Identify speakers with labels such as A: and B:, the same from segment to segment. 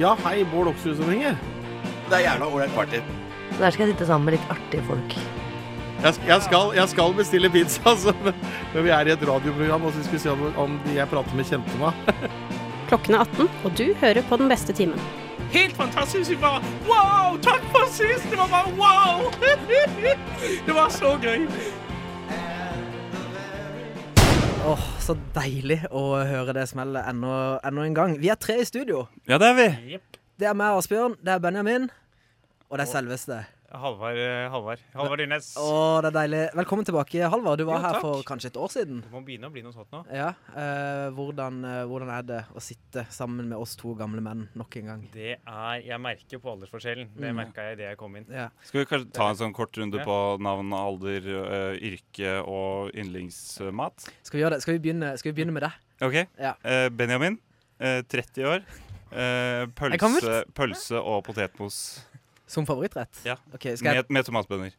A: Ja, hei, Bård Oksrud-sammenhenger.
B: Det er jævla ålreit party.
C: Så der skal jeg sitte sammen med litt artige folk.
A: Jeg, sk- jeg, skal, jeg skal bestille pizza, altså. Men, men vi er i et radioprogram, og så skal vi se om, om de jeg prater med, kjente meg.
D: Klokken er 18, og du hører på den beste timen.
E: Helt fantastisk. Vi bare Wow! Takk for sist! Det var bare wow! Det var så gøy.
F: Åh, så deilig å høre det smellet enda, enda en gang. Vi er tre i studio.
G: Ja, det er vi.
F: Det er meg, Asbjørn, det er Benjamin, og det er selveste.
E: Halvard eh, Halvard. Halvard Dyrnes.
F: Å, det er deilig. Velkommen tilbake, Halvard. Du var
E: Jo,
F: her
E: takk.
F: for kanskje et år siden.
E: Det må begynne å bli noe sånt nå.
F: Ja. eh, hvordan, eh, hvordan er det å sitte sammen med oss to gamle menn nok en gang?
E: Det er Jeg merker på aldersforskjellen.
F: Mm.
E: Det merka jeg idet jeg kom inn.
F: Ja.
G: Skal vi kanskje ta en sånn kort runde
E: Ja.
G: på navn, alder, eh, yrke og yndlingsmat?
F: Skal vi gjøre det? Skal vi begynne, skal vi begynne med det?
G: OK.
F: Ja.
G: Eh, Benjamin, eh, 30 år. Eh,
F: Jeg kan
G: pølse, pølse og potetmos
F: Som favorittrett?
G: Ja.
F: Ok, skal jeg...
G: med, med tomatbønner.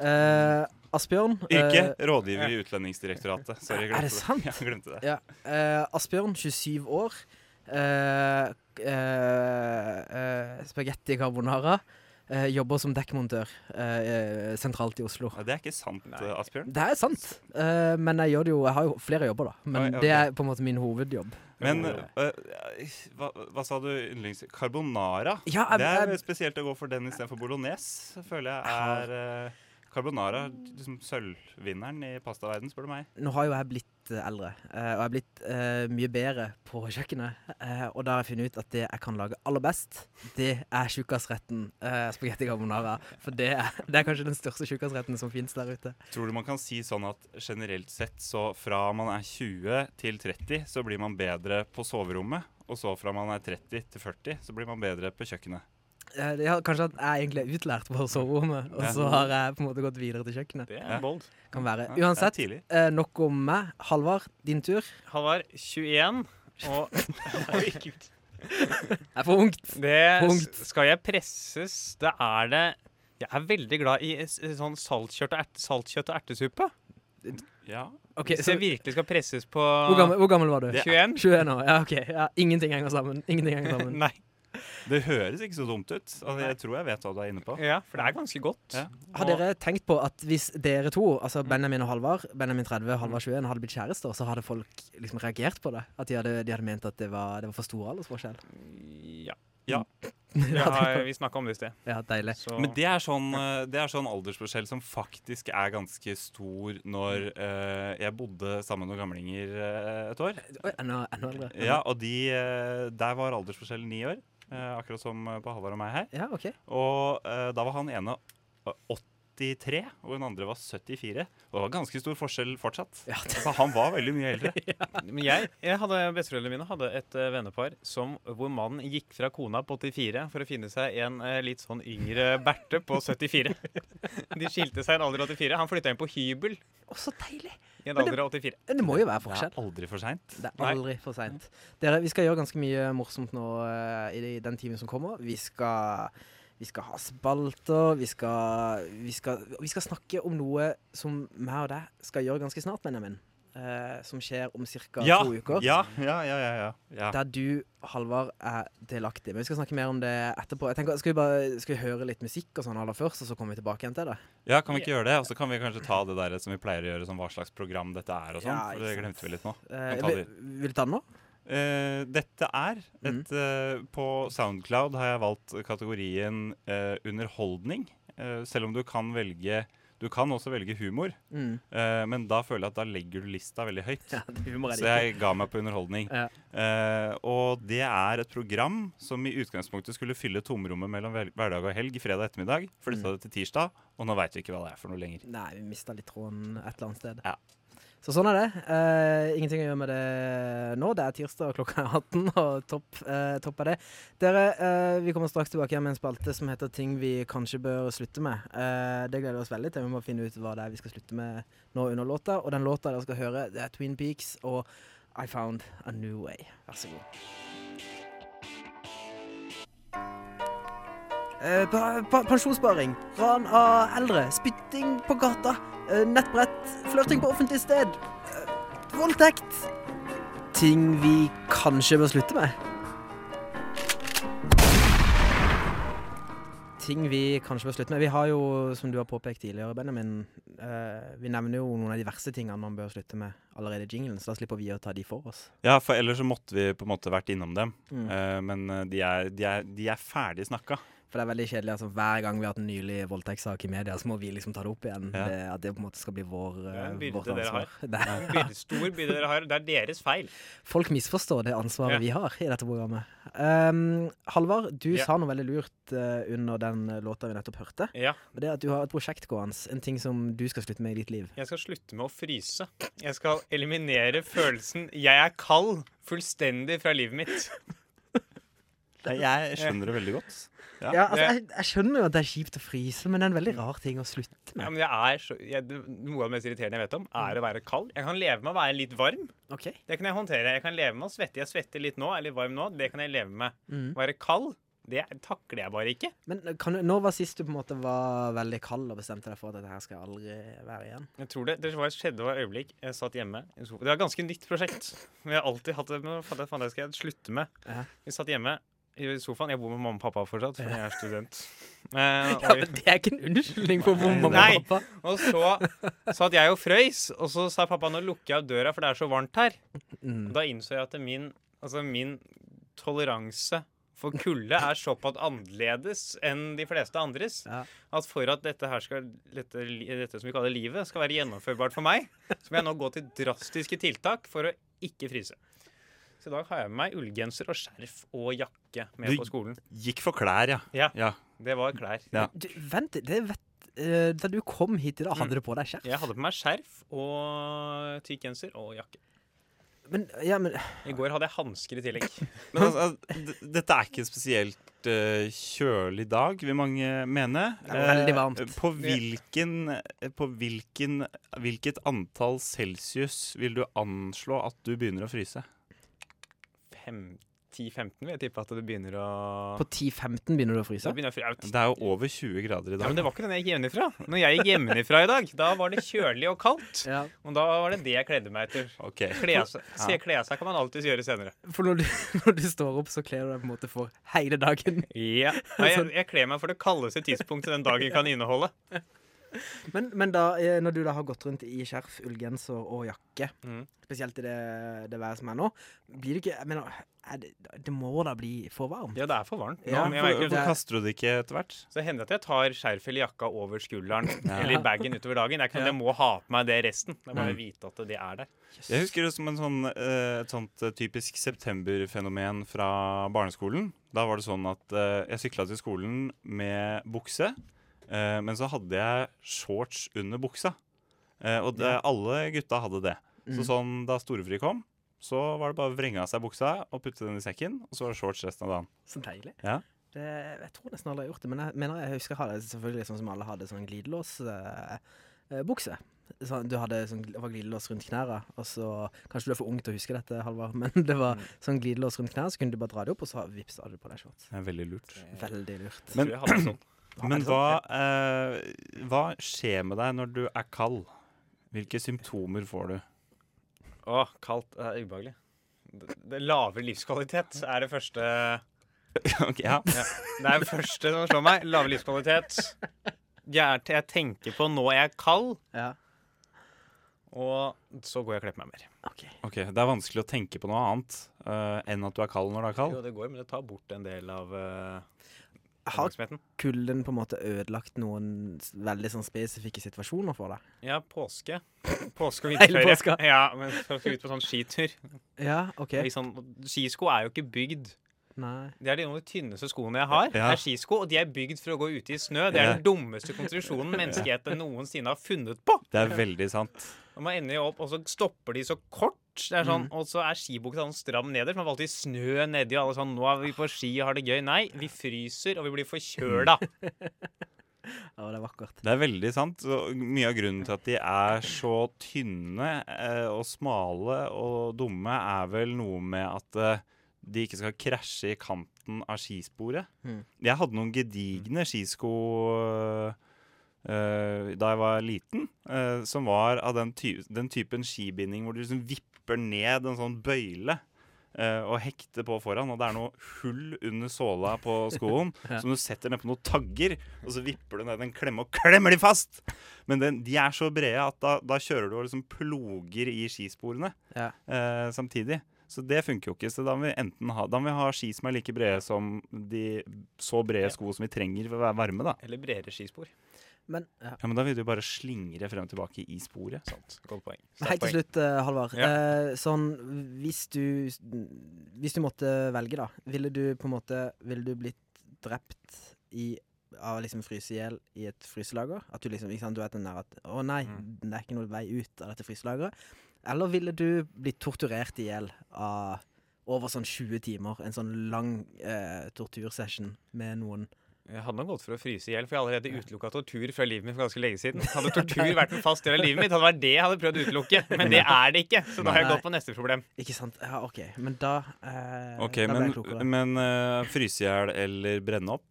F: Eh, Asbjørn
G: Yrke
F: eh,
G: rådgiver i Utlendingsdirektoratet. Sorry,
F: Er
G: jeg glemte
F: det sant?
G: Ja, jeg glemte det.
F: Ja. eh, Asbjørn, 27 år. Uh, eh, spagetti carbonara. eh, jobber som dekkmontør eh, eh, sentralt i Oslo.
G: Ja, det er ikke sant, eh, Asbjørn.
F: Det er sant, eh, men jeg gjør det jo Jeg har jo flere jobber, da. Men
G: Oi, ok.
F: det er på en måte min hovedjobb.
G: Men eh, eh, hva, hva sa du? Yndlings... Carbonara?
F: Ja, jeg-
G: Det er
F: jeg-
G: spesielt å gå for den istedenfor bolognese, føler jeg er eh, Carbonara liksom sølvvinneren i pastaverden, spør du meg.
F: Nå har jo jeg blitt eh, eldre, eh, og jeg er blitt eh, mye bedre på kjøkkenet. eh, og da har jeg funnet ut at det jeg kan lage aller best, det er tjukkasretten uh, spagetti carbonara. For det er, det er kanskje den største tjukkasretten som fins der ute.
G: Tror du man kan si sånn at generelt sett så fra man er 20 til 30, så blir man bedre på soverommet, og så fra man er 30 til 40, så blir man bedre på kjøkkenet.
F: Eh, det er kanskje at jeg egentlig er utlært på soverommet, og så har jeg på en måte gått videre til kjøkkenet.
E: Det er
G: Ja.
E: bold.
F: Kan være.
G: Ja, det er
F: Uansett,
G: tidlig.
F: eh, nok om meg. Halvard, din tur.
E: Halvard 21 og Oi, Gud.
F: Jeg er for ungt.
E: Det
F: Punkt.
E: s- skal jeg presses. Det er det Jeg er veldig glad i eh, s- sånn saltkjøtt og, erte, saltkjøtt og ertesuppe.
G: Ja.
F: Ok,
E: Hvis
F: så,
E: jeg virkelig skal presses på
F: hvor, gammel, hvor gammel var du?
G: Det-
E: 21?
F: 21 år. Ja, OK. Ja, ingenting henger sammen. Ingenting henger sammen.
E: Nei.
G: Det høres ikke så dumt ut. Altså, jeg tror jeg vet hva du er inne på.
E: Ja, for det er ganske godt.
G: Ja.
F: Har
E: Og-
F: dere tenkt på at hvis dere to,
G: Mm.
F: altså Benjamin og Halvard, Benjamin 30 og Halvard 21, hadde blitt kjærester, så hadde folk liksom reagert på det? At de hadde, de hadde ment at det var, det var for stor aldersforskjell?
E: Ja. Jeg har, vi snakka om det i sted.
F: Ja, deilig.
E: Så
G: Men det er, sånn, eh, det er sånn aldersforskjell som faktisk er ganske stor når eh, jeg bodde sammen med noen gamlinger eh, et år.
F: Oi, enda, enda eldre.
G: Ja, og de, eh, der var aldersforskjellen ni år, eh, akkurat som eh, på Halvard og meg her.
F: Ja, OK.
G: Og eh, da var han ene eh, 83, og den andre var 74. Og det var ganske stor forskjell fortsatt.
F: Ja, det-
G: Så han var veldig mye eldre.
E: Men jeg, jeg hadde, besteforeldrene mine hadde et eh, vennepar som, hvor mannen gikk fra kona på 84 for å finne seg en eh, litt sånn yngre Berthe på 74. De skilte seg i en alder av 84. Han flytta inn på hybel
F: Å, så deilig.
E: i en
F: Men det-
E: alder av 84.
F: Men det må jo være
G: Det
F: forskjell.
G: er aldri for seint.
F: Det er
E: Nei.
F: aldri for seint. Dere, vi skal gjøre ganske mye morsomt nå eh, i de- den timen som kommer. Vi skal, vi skal ha spalter, vi skal, vi, skal, vi skal snakke om noe som meg og deg skal gjøre ganske snart, Benjamin. Eh, som skjer om ca.
G: Ja,
F: to uker.
G: ja, ja, ja, ja, ja. ja.
F: Der du, Halvard, er delaktig. Men vi skal snakke mer om det etterpå. Jeg tenker, Skal vi, bare, skal vi høre litt musikk og sånn aller først, og så kommer vi tilbake igjen til det?
G: Ja, kan vi ikke gjøre det? Og så kan vi kanskje ta det der som vi pleier å gjøre, som hva slags program dette er og sånn.
F: Ja,
G: for
F: ikke
G: det
F: sant.
G: glemte vi litt nå.
F: Eh,
G: Kan ta
F: vil,
G: det.
F: vil du ta den nå?
G: Eh, dette er
F: Mm.
G: et eh, På Soundcloud har jeg valgt kategorien eh, underholdning. Eh, selv om du kan velge Du kan også velge humor,
F: Mm.
G: eh, men da føler jeg at da legger du lista veldig høyt.
F: Ja, det er humor er
G: Så
F: det ikke.
G: jeg ga meg på underholdning.
F: Ja.
G: Eh, og det er et program som i utgangspunktet skulle fylle tomrommet mellom hver- hverdag og helg fredag ettermiddag. Flytta
F: Mm.
G: det til tirsdag, og nå veit vi ikke hva det er for noe lenger.
F: Nei, vi mista litt tråden et eller annet sted.
G: Ja.
F: Så sånn er det. Eh, ingenting å gjøre med det nå. Det er tirsdag, og klokka er 18, og topp, eh, topp er det. Dere, eh, vi kommer straks tilbake igjen med en spalte som heter 'Ting vi kanskje bør slutte med'. Eh, det gleder vi oss veldig til. Vi må finne ut hva det er vi skal slutte med nå under låta. Og den låta dere skal høre, det er Twin Peaks og I Found A New Way. Vær så god. Eh, pa pa pensjonssparing, ran av eldre, spytting på gata, eh, nettbrett, flørting på offentlig sted, eh, voldtekt. Ting vi kanskje bør slutte med. ting vi kanskje bør slutte med. Vi har jo, som du har påpekt tidligere, Benjamin, eh, vi nevner jo noen av de verste tingene man bør slutte med allerede i jinglen, så da slipper vi å ta de for oss.
G: Ja, for ellers så måtte vi på en måte vært innom dem.
F: Mm.
G: Eh, men eh, de er, de er, de er ferdig snakka.
F: For det er veldig kjedelig. altså Hver gang vi har hatt en nylig voldtektssak i media, så må vi liksom ta det opp igjen.
G: Ja.
F: Det, at det på en måte skal bli vår,
E: er en
F: eh,
E: byrde
F: vårt
E: dere
F: ansvar. Det er,
E: Byrde, stor byrde dere har. Det er deres feil.
F: folk misforstår det ansvaret
E: Ja.
F: vi har i dette programmet. Um, Halvard, du
E: Ja.
F: sa noe veldig lurt eh, under den låta vi nettopp hørte.
E: Ja,
F: Og det er at du har et prosjekt gående. En ting som du skal slutte med i ditt liv.
E: jeg skal slutte med å fryse. Jeg skal eliminere følelsen 'jeg er kald' fullstendig fra livet mitt.
F: Eh,
G: Jeg skjønner det veldig godt. Ja.
F: Ja, altså,
E: Det-
F: jeg, jeg skjønner jo at det er kjipt å fryse, men det er en veldig rar ting å slutte
E: Ja,
F: med.
E: men jeg er så, jeg, det- noe av det mest irriterende jeg vet om, er å være kald. Jeg kan leve med å være litt varm.
F: Ok.
E: Det kan jeg håndtere. Jeg kan leve med å svette. Jeg svetter litt nå, jeg er litt varm nå. Det kan jeg leve med.
F: Mm.
E: Være kald, det takler jeg bare ikke.
F: Men kan du, når var sist du på en måte var veldig kald og bestemte deg for at dette her skal jeg aldri være igjen?
E: Jeg tror Det det var skjedde var et øyeblikk. Jeg satt hjemme. i sofaen. Det var et ganske nytt prosjekt. Men jeg har alltid hatt det, men hva faen, faen, det skal jeg slutte med.
F: Ja.
E: Vi satt hjemme i sofaen. Jeg bor med mamma og pappa fortsatt, for jeg er student. Eh, og-
F: det er ikke en unnskyldning for hvor
E: mamma og Og så satt jeg og frøys, og så sa pappa nå lukker jeg opp døra, for det er så varmt her.
F: Mm.
E: Da innså jeg at min, altså min toleranse for kulde er såpass annerledes enn de fleste andres.
F: Ja.
E: At for at dette, her skal, dette, li- dette som vi kaller livet, skal være gjennomførbart for meg, så må jeg nå gå til drastiske tiltak for å ikke fryse. Så i dag har jeg med meg ullgenser og skjerf og jakke med
G: Du-
E: på skolen.
G: Gikk for klær, ja.
E: Ja.
G: ja.
E: Det var klær.
G: Ja.
F: Du, vent, det vet, eh, da du kom hit i dag, hadde du på deg skjerf?
E: Mm. Jeg hadde på meg skjerf og tykk genser og jakke.
F: Men, ja, men
E: I går hadde jeg hansker i tillegg.
G: Men altså, al- d- dette er ikke en spesielt eh, kjølig dag, vil mange mene.
F: Det er veldig
G: Eh,
F: varmt.
G: På, hvilken, på hvilken, hvilket antall celsius vil du anslå at du begynner å fryse?
E: fem- 10-15 vil jeg tippe at det begynner å
F: på 10-15 begynner du å
E: Da
F: fryse?
E: begynner jeg å fri- Au.
G: Det er jo over 20 grader i
E: ja,
G: dag.
E: men Det var ikke den jeg gikk hjemmefra. Når jeg gikk hjemmefra i dag, da var det kjølig og kaldt.
F: Ja.
E: Og da var det det jeg kledde meg etter.
G: Ok.
E: Kle av seg, se, kle av seg kan man alltids gjøre senere.
F: For når du, når du står opp, så kler du deg på en måte for hele dagen.
E: Ja. Nei, jeg, jeg kler meg for det kaldeste tidspunktet den dagen kan inneholde.
F: Men, men da, eh, når du da har gått rundt i skjerf, ullgenser og jakke,
E: Mm.
F: spesielt i det, det været som er nå, blir det ikke jeg mener, er det, det må da bli for varmt?
E: Ja, det er for varmt. Nå,
F: Ja,
E: men jeg merker-
G: Hvorfor kaster du det ikke etter hvert?
E: så det hender at jeg tar skjerfet eller jakka over skulderen
G: Ja.
E: eller i bagen utover dagen. Det er ikke sånn at jeg må ha på meg det resten. Det er bare å vite at det er der.
G: Jeg husker det som en sånn, eh, et sånt eh, typisk septemberfenomen fra barneskolen. Da var det sånn at eh, jeg sykla til skolen med bukse, eh, men så hadde jeg shorts under buksa. Eh, og det, alle gutta hadde det. Så sånn, da storefri kom, så var det bare å vrenge av seg buksa og putte den i sekken, og så var det shorts resten av dagen.
F: Så deilig.
G: Ja.
F: Det, jeg tror nesten alle har gjort det, men jeg mener jeg husker jeg hadde selvfølgelig sånn som alle hadde sånn glidelåsbukse. Sånn, du hadde sånn, det var glidelås rundt knærne, og så Kanskje du er for ung til å huske dette, Halvard, men det var
G: Mm.
F: sånn glidelås rundt knærne, så kunne du bare dra det opp, og så vips, hadde du på deg shorts.
G: Det er veldig lurt.
F: Veldig lurt.
E: Men,
G: Men,
E: jeg hadde sånn.
G: men hva, eh, hva skjer med deg når du er kald? Hvilke symptomer får du?
E: Å, kaldt det er ubehagelig. Det, det Lavere livskvalitet er det første
G: Ok, ja.
E: Det er det første som slår meg. Lave livskvalitet. Jeg, jeg tenker på nå jeg er kald,
F: Ja.
E: og så går jeg og kler på meg mer.
F: OK.
G: Ok, Det er vanskelig å tenke på noe annet eh, enn at du er kald når du er kald.
E: Jo, det går, men det tar bort en del av eh,
F: Har
E: oppmerksomheten.
F: kulden på en måte ødelagt noen s- veldig sånn spesifikke situasjoner for deg?
E: Ja, påske. Påske og
F: Hele
E: vinterferie.
F: påska.
E: Ja, men for å få ut på sånn skitur.
F: Ja, OK.
E: Ikke sånn, skisko er jo ikke bygd.
F: Nei.
E: Det er de noen av de tynneste skoene jeg har.
G: Ja.
E: er skisko, Og de er bygd for å gå ute i snø. Det er
G: Ja.
E: den dummeste konstruksjonen menneskeheten noensinne har funnet på.
G: Det er veldig sant.
E: Og man ender jo opp, og så stopper de så kort. Det er
F: Mm.
E: sånn, Og så er skibukta sånn stram nederst. Man valgte snø nedi, og alle sånn 'Nå er vi på ski og har det gøy.' Nei, vi fryser, og vi blir forkjøla.
F: Ja, det er vakkert.
G: Det er veldig sant. Og mye av grunnen til at de er så tynne eh, og smale og dumme, er vel noe med at eh, de ikke skal krasje i kanten av skisporet.
F: Mm.
G: Jeg hadde noen gedigne skisko eh, da jeg var liten, eh, som var av den, ty den typen skibinding hvor du liksom vipper ned en sånn bøyle. eh, eh, og hekte på foran. Og det er noe hull under såla på skoen som du setter ned på noen tagger, og så vipper du ned en klemme og klemmer de fast! Men den, de er så brede at da, da kjører du og liksom ploger i skisporene
F: Ja.
G: eh, samtidig. Så det funker jo ikke. Så da må vi enten ha, da må vi ha ski som er like brede som de så brede sko som vi trenger for å være varme, da.
E: Eller bredere skispor.
F: Men ja.
G: Ja, men da vil du jo bare slingre frem og tilbake i sporet.
E: Sant. Godt poeng.
F: Helt til slutt, eh, Halvard.
E: Ja.
F: Eh, sånn, hvis du Hvis du måtte velge, da, ville du på en måte Ville du blitt drept i av å liksom fryse i hjel i et fryselager? At du liksom ikke sant, Du vet den der at Å nei,
E: Mm.
F: det er ikke noe vei ut av dette fryselageret. Eller ville du blitt torturert i hjel av over sånn 20 timer? En sånn lang eh, tortursession med noen
E: Jeg hadde nok gått for å fryse i hjel, for jeg har allerede utelukka tortur fra livet mitt for ganske lenge siden. Hadde tortur vært en fast del av livet mitt, hadde det vært det jeg hadde prøvd å utelukke. Men det er det ikke, så da har jeg
F: Nei.
E: gått på neste problem.
F: Ikke sant? Ja, OK. Men da eh,
G: Ok,
F: Da ble
G: men,
F: jeg klokere.
G: men eh, fryse i hjel eller brenne opp?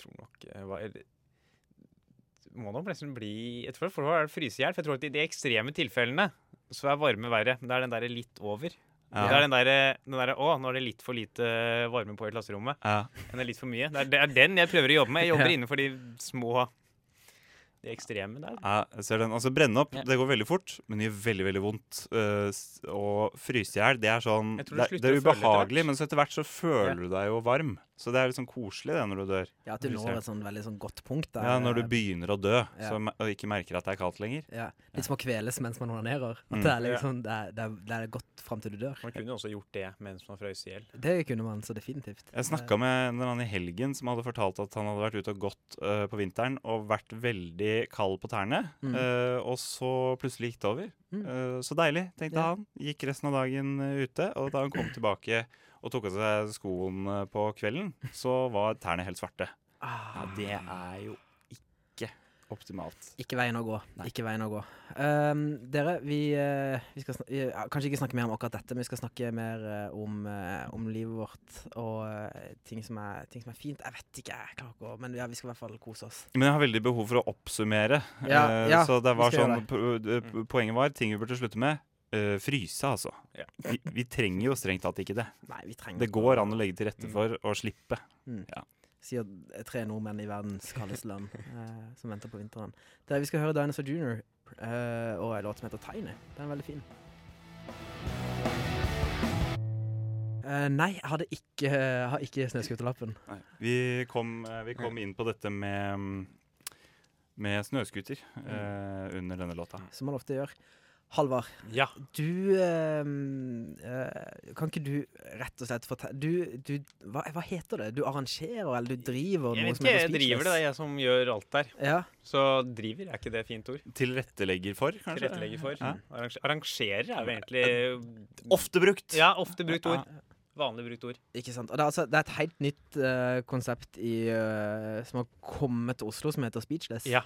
E: Tror nok eh, hva, eller, Må nok nesten bli Jeg tror for er det fryse i hjel, for jeg tror at i de ekstreme tilfellene så er varme verre. Det er den derre litt over. Det er den derre den der, Å, nå er det litt for lite varme på i klasserommet.
G: Ja.
E: enn det er litt for mye. Det er, det er den jeg prøver å jobbe med. Jeg jobber innenfor de små De ekstreme der.
G: Ja, jeg ser den. Altså, brenne opp,
E: Ja.
G: det går veldig fort, men det gjør veldig, veldig vondt. Eh, s- og fryse i hjel, det er sånn
E: Jeg
G: Det,
E: tror
G: er-
E: du slutter å
G: det er
E: føle etter
G: ubehagelig,
E: hvert.
G: men så etter hvert så føler du deg jo varm. Så det er litt sånn koselig det når du dør.
F: Ja, at du
G: Hvis jeg-
F: når et sånn veldig sånn godt punkt. Der,
G: Ja, Når du begynner å dø
F: Ja.
G: så, me- og ikke merker at det er kaldt lenger.
F: ja, Litt som å kveles mens man onanerer. At
G: Mm.
F: det, er liksom, det, er, det, er, det er godt fram til du dør.
E: Man kunne jo også gjort det mens man frøs i hjel.
F: Det kunne man så definitivt.
G: Jeg snakka med en eller annen i helgen som hadde fortalt at han hadde vært ute og gått eh, på vinteren og vært veldig kald på tærne.
F: Mm.
G: eh, og så plutselig gikk det over.
F: Mm.
G: Eh, så deilig, tenkte
F: Ja.
G: han. Gikk resten av dagen eh, ute. Og da han kom tilbake og tok av seg skoen eh, på kvelden, så var tærne helt svarte.
F: Ah,
G: det er jo ikke optimalt.
F: Ikke veien å gå. Ikke veien å gå. Ehm, dere, vi, eh, vi skal snak vi, ja, kanskje ikke snakke mer om akkurat dette, men vi skal snakke mer eh, om, eh, om livet vårt og eh, ting, som er, ting som er fint. Jeg vet ikke, jeg klarer ikke å Men ja, vi skal i hvert fall kose oss.
G: Men jeg har veldig behov for å oppsummere.
F: Ja,
G: Eh,
F: ja,
G: så det
F: vi
G: var
F: skal
G: sånn
F: gjøre
G: po- eh, Poenget var ting vi burde slutte med. eh, fryse, altså.
E: Ja.
G: Vi, vi trenger jo strengt tatt ikke det.
F: Nei, vi trenger
G: Det går an å legge til rette for å slippe.
F: sier tre nordmenn i verdens kaldeste land eh, som venter på vinteren. Der vi skal høre Dinosaur Junior eh, og en låt som heter Tiny. Den er veldig fin. Eh, nei, jeg hadde ikke, jeg har ikke snøskuterlappen.
G: Vi kom, eh, vi kom inn på dette med, mm, med snøskuter eh, under denne låta.
F: som man ofte gjør. Halvard,
E: Ja.
F: du eh, eh, Kan ikke du rett og slett fortelle du, du, hva, hva heter det? Du arrangerer, eller du driver
E: Jeg
F: noe
E: vet
F: som
E: ikke,
G: sånn
F: heter
E: jeg driver det. Det er jeg som gjør alt der.
F: Ja.
E: Så driver er ikke det fint ord.
G: Tilrettelegger for, kanskje?
E: Tilrettelegger for.
G: Ja.
E: Arrange- Arrangerer er jo egentlig
G: Ofte brukt!
E: Ja, ofte brukt ord. Vanlig brukt ord.
F: Ikke sant. Og det er, altså, det er et helt nytt eh, konsept i, eh, som har kommet til Oslo, som heter Speechless.
E: Ja.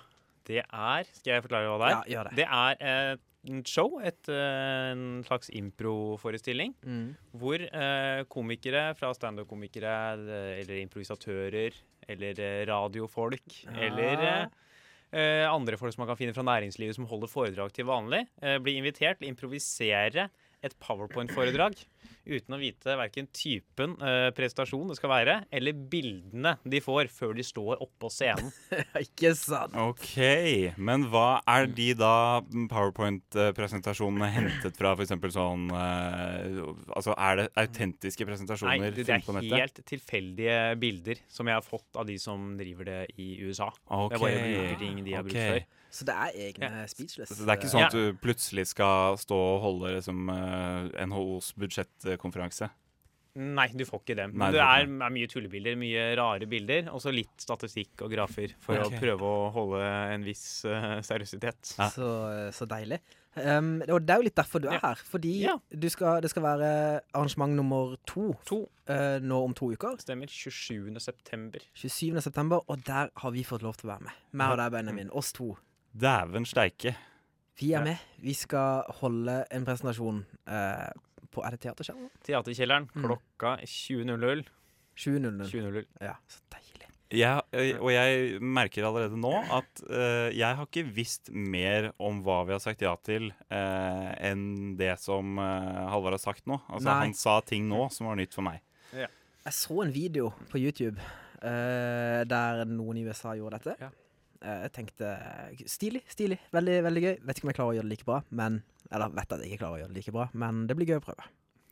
E: Det er Skal jeg forklare hva det
F: ja
E: er?
F: gjør det.
E: Det er eh, et show, et, eh, en slags improforestilling.
F: Mm.
E: Hvor eh, komikere fra standup-komikere eh, eller improvisatører eller eh, radiofolk
F: Ja.
E: eller eh, eh, andre folk som man kan finne fra næringslivet som holder foredrag til vanlig, eh, blir invitert til å improvisere et powerpoint-foredrag uten å vite verken typen eh, prestasjon det skal være, eller bildene de får før de står oppå scenen.
F: ikke sant.
G: Ok, men hva er de da mm, PowerPoint-presentasjonene hentet fra? For eksempel sånn eh, Altså, er det autentiske
E: Nei,
G: presentasjoner
E: det, det
G: funnet på
E: er
G: nettet?
E: helt tilfeldige bilder som jeg har fått av de som driver det i USA.
G: Ok,
E: Jeg bare bruker ting de har brukt
G: ok.
E: før.
F: Så det er egne Speechless.
G: Så det er ikke sånn at du plutselig skal stå og holde liksom, eh, NHOs budsjettkonferanse?
E: Nei, du får ikke det. Men
G: Nei, du
E: det
G: får
E: er,
G: ikke
E: er mye tullebilder, mye rare bilder, og så litt statistikk og grafer for
G: Ok.
E: å prøve å holde en viss eh, seriøsitet.
G: Ja.
F: Så, eh, så deilig. Um, og det er jo litt derfor du er
E: Ja.
F: her. Fordi
E: Ja.
F: du skal, det skal være arrangement nummer to,
E: To.
F: eh, nå om to uker.
E: Stemmer. 27. september.
F: 27. september, og der har vi fått lov til å være med. Meg og deg, Benjamin. Oss to.
G: Dæven steike.
F: Vi er
E: Mm. Ja.
F: med. Vi skal holde en presentasjon eh, på Er det Teaterkjelleren?
G: Mm.
E: Teaterkjelleren
F: Mm.
E: klokka 20.00.
F: 20.00.
E: 20.00.
F: Ja, så deilig.
G: Jeg, eh, og jeg merker allerede nå at eh, jeg har ikke visst mer om hva vi har sagt ja til, eh, enn det som eh, Halvard har sagt nå. Altså,
F: Nei.
G: han sa ting nå som var nytt for meg.
F: Jeg så en video på YouTube eh, der noen i USA gjorde dette.
E: Ja.
F: Eh, jeg tenkte stilig, stilig. Veldig veldig gøy. Vet ikke om jeg klarer å gjøre det like bra, men Eller vet at jeg ikke klarer å gjøre det like bra, men det blir gøy å prøve.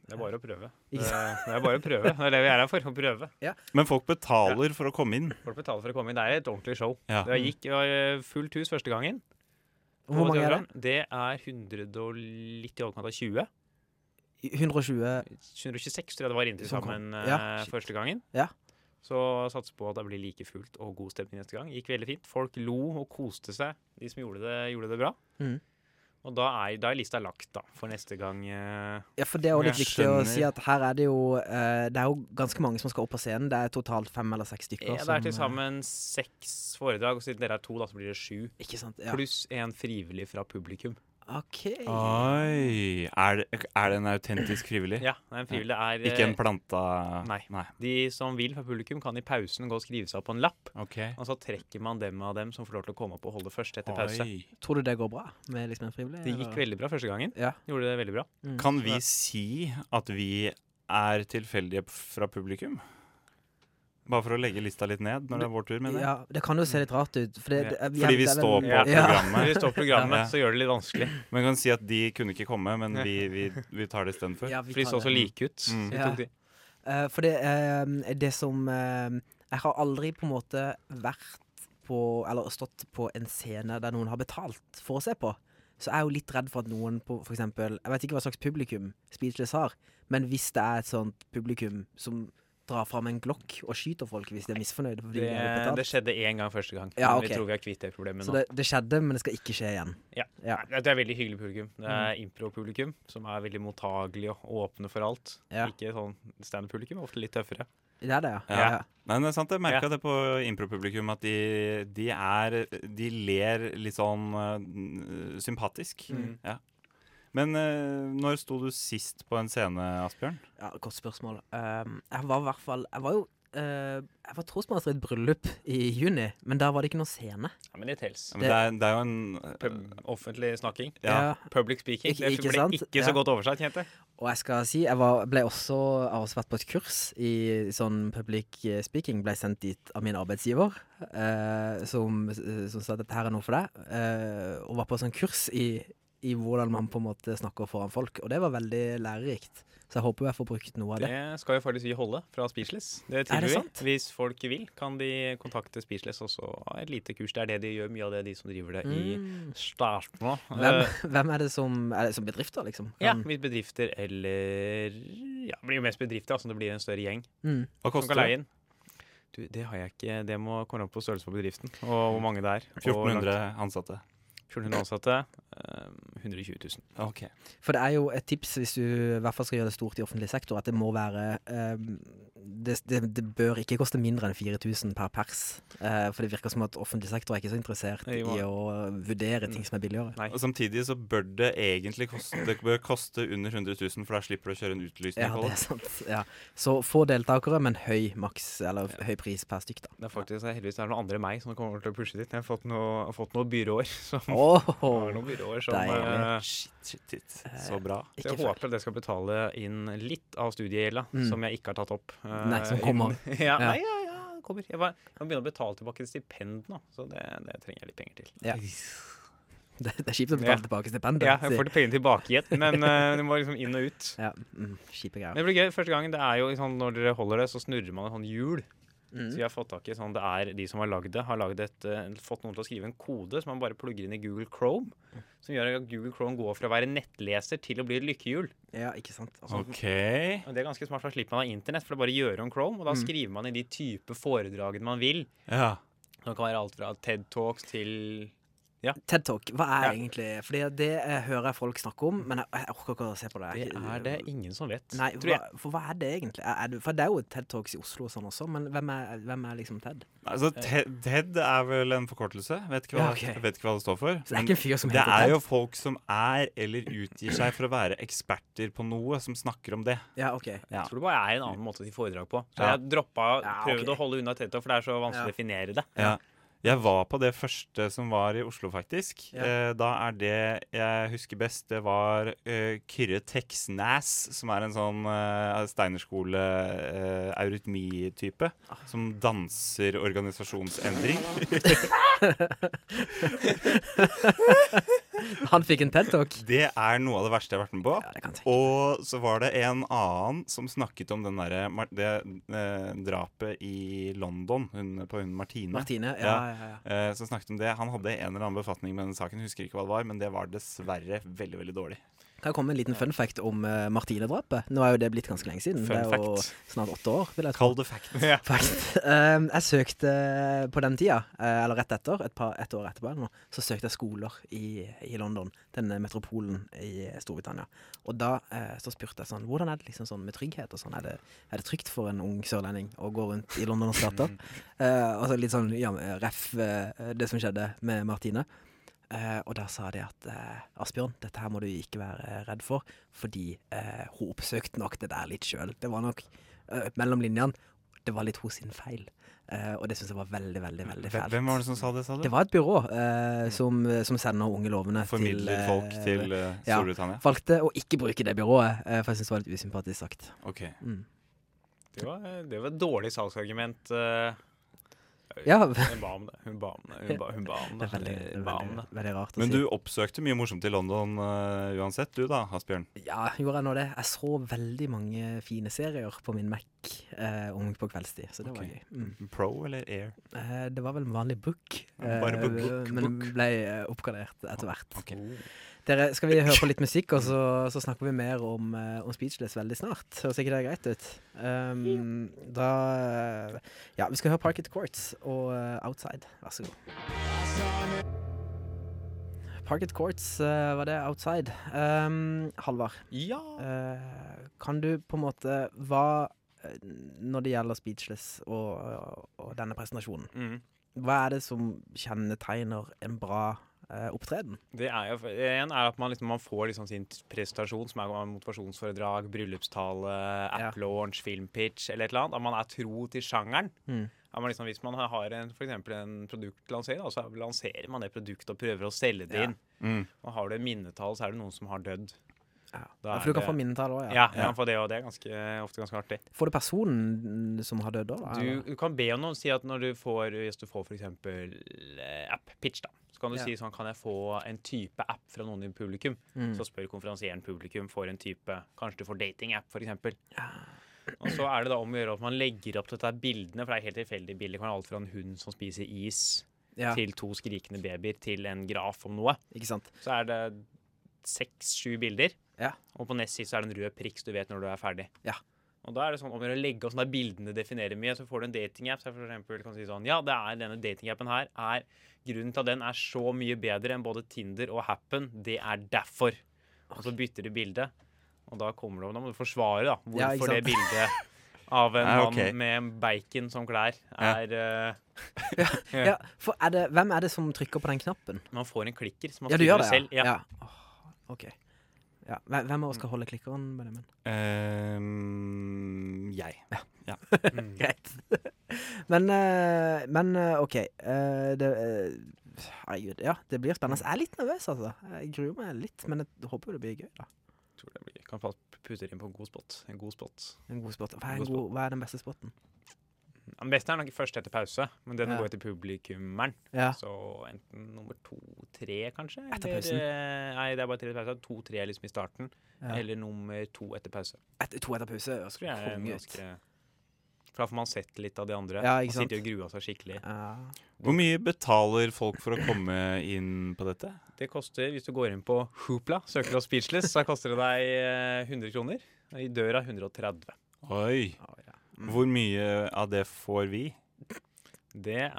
E: Det er bare å prøve.
F: Ikke
E: Det, det er bare å prøve. Det er det vi er her for. Å prøve.
G: Men folk betaler for å komme inn.
E: Folk betaler for å komme inn. Det er et ordentlig show.
G: Ja.
E: Det gikk det var eh, fullt hus første gangen.
F: Og Hvor
E: på
F: mange er det?
E: Teatran. Det er 100 og litt i overkant av 20.
F: 120
E: 126 tror jeg det var inntil
F: Som kom.
E: sammen eh,
F: Ja, shit.
E: første gangen.
F: Ja.
E: Så satser på at det blir like fullt og god stemning neste gang. Gikk veldig fint. Folk lo og koste seg, de som gjorde det, gjorde det bra.
F: Mhm.
E: Og da er, da er lista lagt, da, for neste gang. eh,
F: Ja, for det er jo litt
G: Jeg
F: viktig å
G: skjønner.
F: si at her er det jo eh, Det er jo ganske mange som skal opp på scenen. Det er totalt fem eller seks stykker.
E: ja, det er til
F: som, eh,
E: sammen seks foredrag, og siden dere er to, da, så blir det sju.
F: Ikke sant? Ja.
E: Pluss en frivillig fra publikum.
F: OK.
G: Ah. Oi! Er det, er det en autentisk frivillig?
E: Ja, det er en frivillig. Det er, eh,
G: Ikke en planta
E: Nei. De som vil fra publikum, kan i pausen gå og skrive seg opp på en lapp.
G: Ok.
E: Og så trekker man dem av dem som får lov til å komme opp og holde først etter pause.
G: Oi.
F: Tror du det går bra med liksom en frivillig?
E: Det gikk
F: eller? Mm.
E: veldig bra første gangen.
F: Ja.
E: Gjorde det veldig bra.
G: Kan vi si at vi er tilfeldige p- fra publikum? Bare for å legge lista litt ned når det er vår tur, mener jeg.
F: Ja, det kan jo se litt rart ut. For det, det, vi
G: Fordi
F: er-
G: vi
F: det er
G: står
F: vel-
G: på
E: Ja. Når
G: programmet.
E: vi står på programmet,
G: Ja.
E: så gjør det litt vanskelig.
G: Man kan si at de kunne ikke komme, men vi, vi, vi tar det istedenfor.
F: Ja, vi
E: For de
F: tar
E: så
F: det.
E: så like ut. Så
G: Mm.
E: vi
F: Ja.
E: tok de.
F: Eh, for det, eh, det som eh, Jeg har aldri på en måte vært på Eller stått på en scene der noen har betalt for å se på. Så jeg er jo litt redd for at noen på for eksempel, Jeg vet ikke hva slags publikum Speechless har, men hvis det er et sånt publikum som drar fram en glokk og skyter folk hvis de er misfornøyde fordi
E: Det,
F: de har betalt
E: det skjedde én gang første gang.
F: Ja,
E: men
F: ok.
E: Vi tror vi har kvitt det problemet
F: Så
E: nå.
F: det, det skjedde, men det skal ikke skje igjen.
E: Ja.
F: Ja. Mm.
E: Nei, Det er veldig hyggelig publikum. Det er impro-publikum som er veldig mottagelig og åpne for alt.
F: Ja.
E: Ikke sånn stand-publikum, ofte litt tøffere.
F: Det er det, ja.
G: Ja.
F: ja.
G: Nei, men det er sant. Jeg merka
E: Ja.
G: det på impropublikum, at de, de er De ler litt sånn øh, sympatisk.
E: Mm.
F: Mm.
G: Ja. Men øh, når sto du sist på en scene, Asbjørn?
F: Ja, godt spørsmål. Ehm, jeg var i hvert fall Jeg var jo eh, Jeg var trosmaster i et bryllup i juni, men der var det ikke noen scene.
E: Ja, men det tels.
G: Ja, men det, er, det er jo en
E: Pub offentlig snakking.
G: Ja.
E: Public speaking.
F: Ikke- ikke
E: det ble
F: sant?
E: ikke
F: Ja.
E: så godt oversatt, kjente jeg.
F: Og jeg skal si, jeg var, ble også, jeg har også vært på et kurs i sånn public speaking. Ble sendt dit av min arbeidsgiver, eh, som, som sa at dette her er noe for deg. Eh, og var på sånn kurs i, i hvordan man på en måte snakker foran folk. Og det var veldig lærerikt. Så jeg håper jeg får brukt noe av det.
E: Det skal jo faktisk vi holde fra Speechless. Det
F: Er det
E: tilbyr
F: sant?
E: vi. Hvis folk vil, kan de kontakte Speechless også. ha Et lite kurs. Det er det de gjør, mye av det de som driver det i
F: Mm.
E: starten nå.
F: Hvem,
E: Eh,
F: hvem er det som Er det som bedrifter, liksom?
E: Ja,
F: Kan-
E: hvis bedrifter eller Ja, det blir jo mest bedrifter, altså. Det blir en større gjeng
F: Mm.
E: som kan
G: Hva koster det?
E: leie inn. Du, det har jeg ikke. Det må komme an på størrelse på bedriften og hvor mange det er. og
G: 1400 ansatte.
E: langt- 1400 ansatte. eh, 120 000.
G: Ok.
F: For det er jo et tips hvis du i hvert fall skal gjøre det stort i offentlig sektor, at det må være ehm, det, det, det bør ikke koste mindre enn 4000 per pers. eh, for det virker som at offentlig sektor er ikke så interessert
E: Nei, Mm.
F: i
E: hva-
F: å vurdere ting som er billigere.
E: Nei.
G: Og Samtidig så bør det egentlig koste, det bør koste under 100 000, for da slipper du å kjøre en utlysning.
F: Ja,
G: på
F: det
G: det.
F: er sant. Ja. Så få deltakere, men høy maks, eller høy pris per stykk, da.
E: Det er faktisk heldigvis det er noen andre enn meg som kommer til å pushe dit. Jeg har fått, noe, har fått noen byråer som
F: Åhå,
E: har noen byråer som
F: deilig.
E: eh,
G: Shit, shit, shit. Så bra.
E: så
F: ikke
E: jeg
F: feil.
E: håper at det skal betale inn litt av studiegjelda,
F: Mm.
E: som jeg ikke har tatt opp. eh,
F: Nei, som
E: inn-
F: kommer.
E: Ja,
F: Ja.
E: nei, ja, ja, det kommer. Jeg, var, jeg må begynne å betale tilbake stipend nå, så det, det trenger jeg litt penger til.
F: Ja. Det, det er kjipt å
E: Ja.
F: betale tilbake stipendet.
E: Ja, jeg
F: sier-
E: får de pengene tilbake igjen, men eh, det må liksom inn og ut.
F: ja. Mm, kjipe
E: Men
F: greier.
E: det blir gøy. Første gangen det er jo sånn, Når dere holder det, så snurrer man et sånn hjul. Så
F: Mm.
E: vi har fått tak i sånn Det er de som har lagd det, har lagd et, eh, fått noen til å skrive en kode som man bare plugger inn i Google Chrome. Som gjør at Google Chrome går fra å være nettleser til å bli et lykkehjul.
F: Ja, ikke sant. Altså,
G: Ok.
E: Og det er ganske smart, for da slipper man å ha internett, for det er bare å gjøre om Chrome. Og da
F: Mm.
E: skriver man i de type foredragene man vil.
G: Ja.
E: Det kan være alt fra TED Talks til Ja.
F: TED Talk, hva er
E: Ja.
F: egentlig Fordi det eh, hører jeg folk snakke om, men jeg, jeg orker ikke å se på det.
E: Det
F: Jeg-
E: er det ingen som vet,
F: Nei,
E: tror
F: hva,
E: jeg.
F: for hva er det egentlig? Er, er, det- for det er jo TED Talks i Oslo og sånn også, men hvem er, hvem er liksom TED?
G: Altså, Te- TED er vel en forkortelse. Vet ikke hva,
F: Ja, ok.
G: jeg vet ikke hva det står for.
F: Så det er
G: men
F: ikke en fyr som
G: det
F: heter
G: er
F: TED?
G: jo folk som er eller utgir seg for å være eksperter på noe, som snakker om det.
F: Ja, ok.
G: Ja.
E: Jeg tror det bare er en annen måte til foredrag på. Så
G: Ja.
E: jeg droppa,
F: Ja,
E: prøvde
F: ok.
E: å holde unna TED Talk, for det er så vanskelig
F: Ja.
E: å definere det.
G: Ja. Jeg var på det første som var i Oslo, faktisk.
F: Ja.
G: Eh, da er det jeg husker best, det var eh, Kyrre Teksnæs, som er en sånn eh, steinerskole-eurytmi-type.
F: Ah.
G: som danser organisasjonsendring.
F: Han fikk en TED Talk?
G: Det er noe av det verste jeg har vært med på.
F: Ja, det kan jeg tenke.
G: Og så var det en annen som snakket om den derre mar- det eh, drapet i London hun, på hun Martine.
F: Martine, ja,
G: Ja.
F: ja, ja.
G: Eh, som snakket om det. Han hadde en eller annen befatning med den saken, husker ikke hva det var, men det var dessverre veldig veldig dårlig.
F: Kan jeg komme med en liten fun fact om eh, Martine-drapet? Nå er jo det blitt ganske lenge siden.
G: Fun
F: det er jo
G: fact.
F: snart åtte år, vil jeg tro.
G: Kall det fact. Ja.
F: Fact. Eh, jeg søkte på den tida, eh, eller rett etter, et, par, et år etterpå, eller noe, så søkte jeg skoler i, i London, denne metropolen i eh, Storbritannia. Og da eh, så spurte jeg sånn, hvordan er det liksom sånn med trygghet og sånn? Er det, er det trygt for en ung sørlending å gå rundt i Londons gater? Eh, og så litt sånn ja, ref eh, det som skjedde med Martine. Eh, og da sa de at eh, Asbjørn, dette her må du ikke være eh, redd for, fordi eh, hun oppsøkte nok det der litt sjøl. Det var nok eh, mellom linjene. Det var litt hos sin feil. Eh, og det syns jeg var veldig, veldig veldig fælt.
G: Hvem var det som sa det, sa du?
F: Det var et byrå eh, som, som sender unge lovende til
G: Formidler
F: eh,
G: folk til eh,
F: ja.
G: Storbritannia?
F: Valgte å ikke bruke det byrået, eh, for jeg syns det var litt usympatisk sagt.
G: Ok.
F: Mm.
E: Det var, det var et dårlig salgsargument. eh,
F: Ja,
E: Hun ba om det. Hun ba om det. Hun ba, hun ba om det.
F: det er veldig,
E: Hun ba om
F: veldig,
E: det.
F: veldig rart å
G: Men
F: si.
G: du oppsøkte mye morsomt i London eh, uansett, du da, Asbjørn?
F: Ja, gjorde jeg nå det? Jeg så veldig mange fine serier på min Mac eh, om på kveldstid, så det
G: Ok.
F: var gøy. Mm.
G: Pro eller Air?
F: Eh, det var vel en vanlig book, eh,
G: Bare book, book,
F: men
G: book.
F: ble eh, oppgradert etter hvert.
G: Ok.
F: Dere, skal vi høre på litt musikk, og så, så snakker vi mer om, eh, om Speechless veldig snart? Høres ikke det greit ut? Um, da eh, Ja, vi skal høre Parket Courts og eh, Outside. Vær så god. Parket Courts eh, var det Outside. Um, Halvard.
E: Ja!
F: Eh, kan du på en måte Hva eh, Når det gjelder Speechless og, og denne presentasjonen,
E: Mm.
F: hva er det som kjennetegner en bra eh, opptreden?
E: Det er jo, en er at man, liksom, man får liksom sin presentasjon, som er motivasjonsforedrag, bryllupstale, app-launch, filmpitch eller et eller annet. At man er tro til sjangeren.
F: Mm.
E: At man liksom, hvis man har en, for eksempel en produktlansering, da, så lanserer man det produktet og prøver å selge det
F: Ja.
E: inn.
G: Mm.
E: Og har du en minnetall, så er det noen som har dødd.
F: Ja.
E: Da
F: for du
E: er
F: kan
E: det-
F: få minnetall òg, ja.
E: Ja, ja. for det, og det er ganske, ofte ganske artig.
F: Får du personen som har dødd da? da,
E: Du,
F: eller?
E: du kan be om noe. Si at når du får, hvis du får f.eks. app-pitch, da, så kan du
F: Ja.
E: si sånn Kan jeg få en type app fra noen i publikum?
F: Mm.
E: Så spør konferansieren publikum får en type Kanskje du får dating-app, f.eks. Og så er det da om å gjøre at man legger opp til dette her bildene, for det er helt tilfeldige bilder. Det kan være alt fra en hund som spiser is,
F: ja,
E: til to skrikende babyer, til en graf om noe.
F: ikke sant.
E: Så er det seks-sju bilder.
F: Ja.
E: Og på nest sist så er det en rød prikk, så du vet når du er ferdig.
F: Ja.
E: Og da er det sånn, om å gjøre å legge opp sånn der bildene definerer mye, så får du en datingapp. Så for eksempel kan du si sånn, ja, det er denne datingappen her, er, grunnen til at den er så mye bedre enn både Tinder og Happen, det er derfor. Og så bytter du bildet, og da kommer det, da må du forsvare da,
F: Ja, ikke
E: hvorfor det
F: sant?
E: bildet av en
G: Ja,
E: mann
G: ok.
E: med bacon som klær
G: Ja.
E: er... eh,
F: Ja, for er det, hvem er det som trykker på den knappen?
E: man får en klikker som man
F: Ja, du
E: skriver
F: gjør det,
E: selv.
F: ja. ja. Åh, OK. Ja. hvem- Hvem av oss skal holde klikkeren, Benjamin?
G: Ehm, jeg.
E: Mm.
F: Greit. men, eh, men eh, OK. eh, det, eh, herregud, ja, det blir spennende. Jeg er litt nervøs, altså. Jeg gruer meg litt, men jeg håper jo det blir gøy. da.
E: tror det blir, kan faktisk putte det inn på en god spot. En god spot.
F: En god spot. Hva er,
E: God
F: en
E: spot.
F: god, hva er den beste spoten?
E: Ja, Den beste er nok først etter pause, men den
F: Ja.
E: går etter publikummeren.
F: Ja.
E: Så enten nummer to-tre, kanskje?
F: Etter
E: eller,
F: pausen.
E: eh, Nei, det er bare tre etter pause. To-tre liksom i starten,
F: Ja.
E: eller nummer to etter pause.
F: Et, to etter pause høres
E: Tror jeg er en
F: konge ut.
E: ganske... For da får man sett litt av de andre.
F: Ja, ikke
E: man
F: sant?
E: sitter og gruer seg skikkelig.
F: Ja.
G: Hvor mye betaler folk for å komme inn på dette?
E: Det koster, Hvis du går inn på Hoopla, søker oss Speechless, så koster det deg eh, 100 kroner. I døra 130.
G: Oi.
F: Å, ja.
G: Hvor mye av det får vi?
E: Det er,